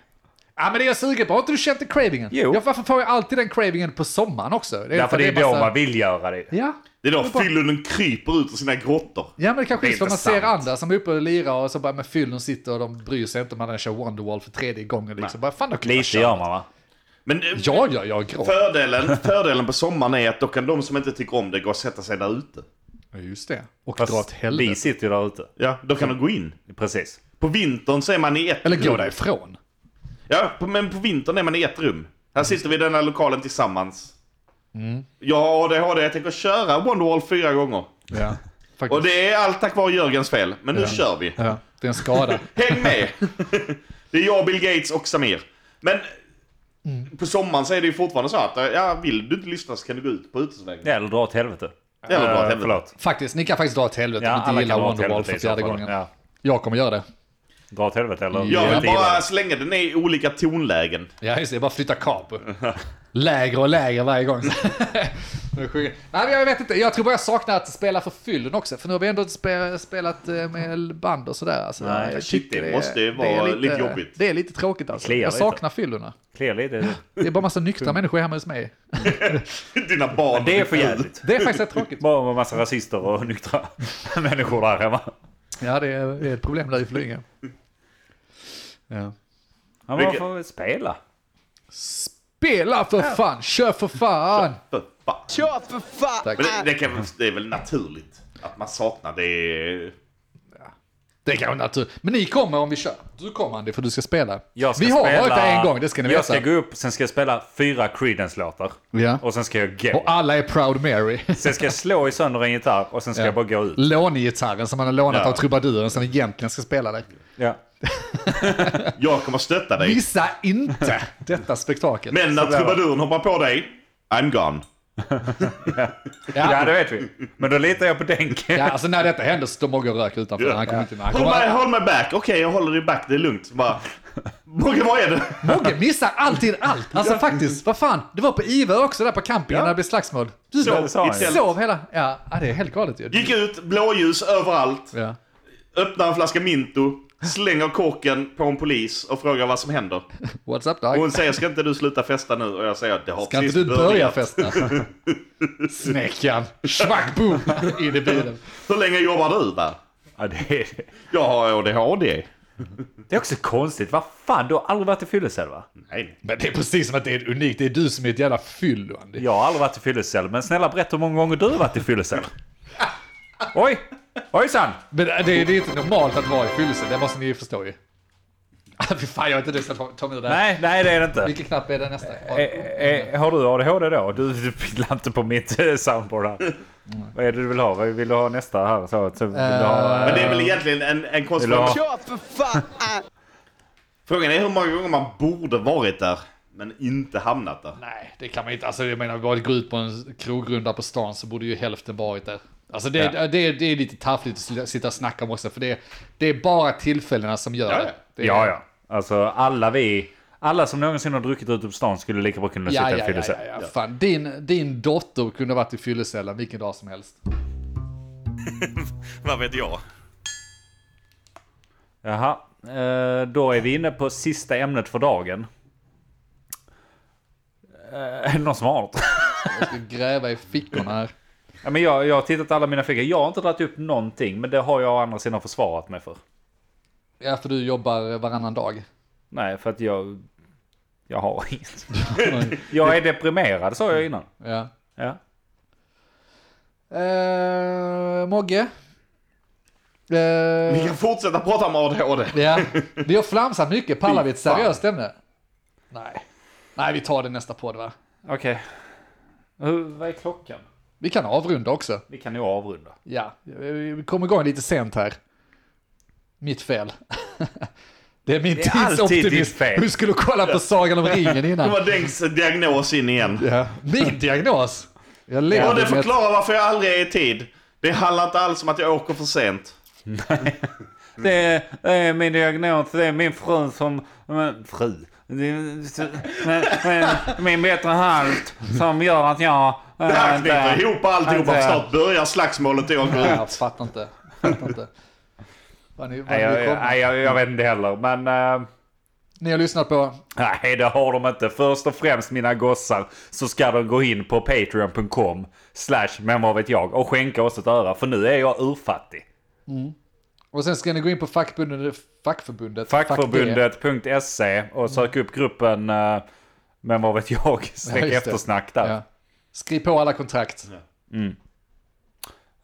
S3: Ja men det är jag sugen på. Har inte du känt den cravingen?
S1: Jo.
S3: Ja, varför får jag alltid den cravingen på sommaren också? Det
S1: Därför det är då
S3: massa-
S1: man vill göra det.
S3: Ja.
S4: Det är då
S3: Det är bara-
S4: fyllonen kryper ut ur sina grottor.
S3: Ja men det kanske
S1: Det
S3: är
S1: är
S3: så man
S1: inte
S3: ser
S1: sant.
S3: andra som är uppe och lirar och så bara med fyllon sitter och de bryr sig inte om man kör Wonderwall för tredje gången liksom. Bara, fan, då kan jag
S1: Lite
S3: köra.
S1: gör man va?
S4: Men eh,
S3: Ja, ja, jag gråter.
S4: fördelen, fördelen på sommaren är att då kan de som inte tycker om det gå och sätta sig där ute.
S3: Ja, Just det. Och
S1: Fast
S3: dra åt
S1: vi
S3: helvete.
S1: sitter ju där ute.
S4: Ja, då kan de gå in.
S1: Precis.
S4: På vintern så är man i ett
S3: Eller gå
S4: rum.
S3: därifrån.
S4: Ja, på, men på vintern är man i ett rum. Här sitter vi i den här lokalen tillsammans.
S3: Mm.
S4: Jag har ADHD, jag tänker köra Wonderwall fyra gånger.
S3: Ja, faktiskt.
S4: Och det är allt tack vare Jörgens fel, men nu kör vi.
S3: ja, det är en skada.
S4: Häng med! det är jag, Bill Gates och Samir. Men på sommaren så är det ju fortfarande så att eh, ja, vill du inte lyssna så kan du gå ut på utesvängen.
S1: Eller dra åt helvete.
S4: Eller dra åt
S1: Eh,
S4: helvete.
S1: Förlåt.
S3: faktiskt, ni kan faktiskt dra åt helvete
S1: Ja,
S3: om ni
S1: alla
S3: inte
S1: kan
S3: gillar
S1: dra åt
S3: Wonderwall
S1: helvete
S3: för
S1: i så
S3: fjärde
S1: fall.
S3: gången.
S1: Ja.
S3: Jag kommer göra det.
S1: Dra åt helvete eller?
S3: Ja,
S4: Jag
S1: Inte
S4: vill bara,
S1: gillar
S4: så länge den är i olika tonlägen.
S3: Ja, just det. Bara flytta kap. Lägre och lägre varje gång. Nu sjunger- Nej, men jag vet inte. Jag tror bara jag saknar att spela för fyllen också. För nu har vi ändå spe, spelat eh, med band och sådär. Alltså,
S4: Nej,
S3: jag
S4: shit,
S3: tycker
S4: det måste ju
S3: är
S4: vara lite jobbigt.
S3: Det är lite tråkigt alltså.
S1: Kliar
S3: Jag
S1: lite.
S3: saknar fyllorna.
S1: Kliar lite.
S3: Det är bara massa nyktra människor hemma hos mig.
S4: Dina barn.
S1: Det är för jävligt.
S3: Det är faktiskt rätt tråkigt.
S1: Bara en massa rasister och nyktra människor där hemma.
S3: Ja, det är det är ett problem där i Flyinge. Ja.
S1: Ja, men man
S4: Vilket-
S1: får väl spela.
S3: Spela för fan! Kör för fan!
S4: För fan.
S5: Kör för fan!
S3: Tack.
S4: Men det, det, kan, väl- det är väl naturligt att man saknar det.
S3: Det kan vara natur. Men ni kommer om vi kör. Du kommer Andy, för du ska spela.
S1: Jag ska
S3: vi har
S1: spela...
S3: varit där en gång, det ska ni
S1: Jag
S3: veta.
S1: ska gå upp, sen ska jag spela fyra Creedence-låtar.
S3: Ja.
S1: Och sen ska jag gå.
S3: Och alla är Proud Mary.
S1: Sen ska jag slå i sönder en gitarr och sen ska jag bara gå ut.
S3: Lånegitarren som man har lånat
S4: Ja.
S3: av trubaduren som egentligen ska spela det.
S1: Ja.
S4: Jag kommer stötta dig.
S3: Missa inte detta spektakel.
S4: Men när
S1: där.
S4: trubaduren hoppar på dig, I'm gone.
S1: ja,
S3: ja.
S1: det vet vi. Men då litar jag på Denke.
S3: ja, alltså när detta händer så står Mogge och röker utanför.
S4: Ja.
S3: Han kommer inte med. Han
S4: Hold
S3: kommer
S4: my,
S3: aldrig-
S4: hold my back. Okej, jag håller dig back. Det är lugnt. Bara, Mogge, vad är det?
S3: Mogge missar alltid allt. Alltså faktiskt, vad fan. Det var på IVA också där på campingen
S4: Ja.
S3: när det blev slagsmål. Du
S4: Så,
S1: det sa han ju.
S4: istället.
S3: sov hela... Ja, ja, det är helt galet ju.
S4: Gick ut, blåljus överallt.
S3: Ja.
S4: Öppnar en flaska Minto. Slänger korken på en polis och frågar vad som händer.
S3: What's up
S4: Och
S3: dog?
S4: hon säger, ska inte du sluta festa nu? Och jag säger, det har
S3: Kan
S4: precis
S3: inte du börja
S4: börjat.
S3: festa? Snäckan. Schmack boom. In i bilen.
S4: Hur länge jobbar du där?
S1: Ja, det, är,
S4: Jag har ADHD.
S1: det är också konstigt. Vad fan, du har aldrig varit i fyllecell va?
S4: Nej.
S3: Men det är precis som att det är unikt. Det är du som är ett jävla fyllo, Andy.
S1: Jag har aldrig varit i fyllecell, men snälla berätta hur många gånger du har varit i fyllecell. Oj! Ojsan!
S3: Men det, det är inte normalt att vara i fyllelse, det måste ni ju förstå ju. Ah, Fy fan, jag vet inte hur jag ska ta- ta mig ur det här.
S1: Nej, nej det är det inte.
S3: Vilken knapp är det nästa?
S1: Eh, eh, har du ADHD då? Du du pillar inte på mitt eh, soundboard här. Vad är det du vill ha? Vad Vill du ha nästa här? Så, så, vill du
S3: Eh,
S1: ha, eh,
S4: Men det är väl egentligen en, en konstig
S1: Vill du ha-
S4: fråga.
S5: Kör för fan!
S4: Frågan är hur många gånger man borde varit där, men inte hamnat där.
S3: Nej, det kan man inte. Alltså jag menar, bara gå ut på en krogrunda på stan så borde ju hälften varit där. Alltså det,
S1: Ja.
S3: det, det är lite taffligt att sl- sitta och snacka om också, för det, det är bara tillfällena som gör
S4: Ja, ja.
S3: det. det. är-
S1: Ja, ja. Alltså alla vi... Alla som någonsin har druckit ute på stan skulle lika bra kunna
S3: Ja,
S1: sitta i
S3: ja, ja,
S1: fyllecell.
S3: ja, ja. Fan, din, din dotter kunde ha varit i fyllecellen vilken dag som helst.
S2: Vad vet jag?
S1: Jaha, eh, då är vi inne på sista ämnet för dagen. Eh, Är det någon som har något?
S3: Jag ska gräva i fickorna här.
S1: Ja, men jag, jag har tittat alla mina fickor. Jag har inte dragit upp någonting, men det har jag å andra sidan försvarat mig för.
S3: Ja, för du jobbar varannan dag.
S1: Nej, för att jag... Jag har inget. Jag är deprimerad, sa jag innan.
S3: Ja.
S1: Ja.
S3: Eh, Mogge? Eh,
S4: Vi kan fortsätta prata om ADHD.
S3: ja. Vi har flamsat mycket. Pallar vi ett
S4: Fy fan.
S3: seriöst ämne? Nej. Nej, vi tar det nästa podd va?
S1: Okej. Hur- Vad är klockan?
S3: Vi kan avrunda också.
S1: Vi kan nog avrunda.
S3: Ja, vi kommer igång lite sent här. Mitt fel. Det är min
S1: är alltid ditt
S3: tidsoptimism.
S1: fel.
S3: Du skulle kolla på Sagan om ringen
S4: Det
S3: innan.
S4: var Dengs diagnos in igen.
S3: Ja. Min diagnos! Jag
S4: Och det
S3: lever med...
S4: förklarar varför jag aldrig är i tid. Det handlar inte alls om att jag åker för sent.
S1: Det är, det är min diagnos, det är min fru som... Men, fru? Det är- så- men, men, min bättre halvt som gör att jag... eh,
S4: Det här knyter
S1: inte-
S4: ihop alltihopa.
S1: inte-
S4: Snart börjar slagsmålet och jag går ut.
S3: Jag fattar inte. Fattar inte. Vad ni, vad
S1: Nej,
S3: ni,
S1: jag,
S3: kommer.
S1: nej, jag, jag vet inte heller, men... eh,
S3: ni har lyssnat på
S1: Nej, det har de inte. Först och främst mina gossar så ska de gå in på patreon.com slash men vad vet jag och skänka oss ett öra för nu är jag urfattig.
S3: Och sen ska ni gå in på fackförbundet, fackförbundet, fack
S1: Fackförbundet.se och sök upp gruppen eh, men vad vet jag,
S3: Ja,
S1: snäck
S3: just det.
S1: eftersnack
S3: det.
S1: där.
S3: Ja. Skriv på alla kontrakt.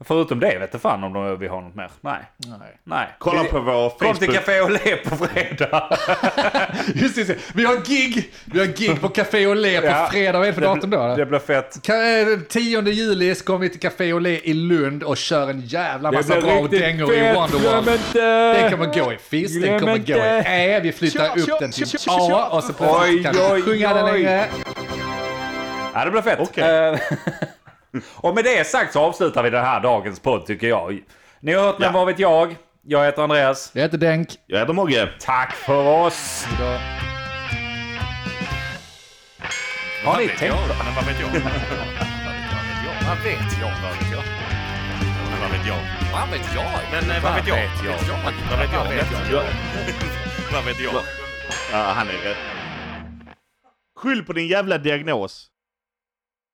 S1: Förutom det vet jag fan om de vill ha något mer. Nej.
S3: Nej.
S1: Nej.
S4: Kolla
S1: Vi-
S4: på vår
S1: Kom till
S4: Facebook.
S1: Café och le på fredag.
S3: Just det, just det, vi har gig, vi har gig på Café Olé på
S1: Ja.
S3: fredag. Vad är det för
S1: Det-
S3: datum då?
S1: Det blir fett.
S3: Ka- eh, 10 juli så kommer vi till Café Olé i Lund och kör en jävla massa bra dängor i Wonderwall. Den kommer gå i fisk, den
S1: Glöm
S3: kommer gå i
S1: inte.
S3: ä, vi flyttar
S5: Tja,
S3: upp
S5: tja,
S3: den till
S5: tja, tja,
S3: a
S5: tja.
S3: och så
S1: Oj,
S3: kan vi
S1: oj,
S3: sjunga den
S1: oj.
S3: längre.
S1: Ja, det blir fett.
S4: Okej.
S1: Eh, och med det sagt så avslutar vi den här dagens podd tycker jag. Ni har hört Men
S4: Ja.
S1: vad vet jag? Jag heter Andreas.
S3: Jag heter Denk.
S4: Jag heter Mogge.
S1: Tack för oss!
S3: Då-
S1: Har ni
S2: vet
S1: tänkt
S2: jag? Men vad vet jag? Vad vet jag?
S1: Vad vet jag? Vad vet jag? Vad vet jag? Vad vet jag? Men eh, vad vet jag? Vad vet jag? Vad vet jag?
S4: Ja,
S1: Vad vet jag?
S4: ja, han är rätt. Skyll på din jävla diagnos.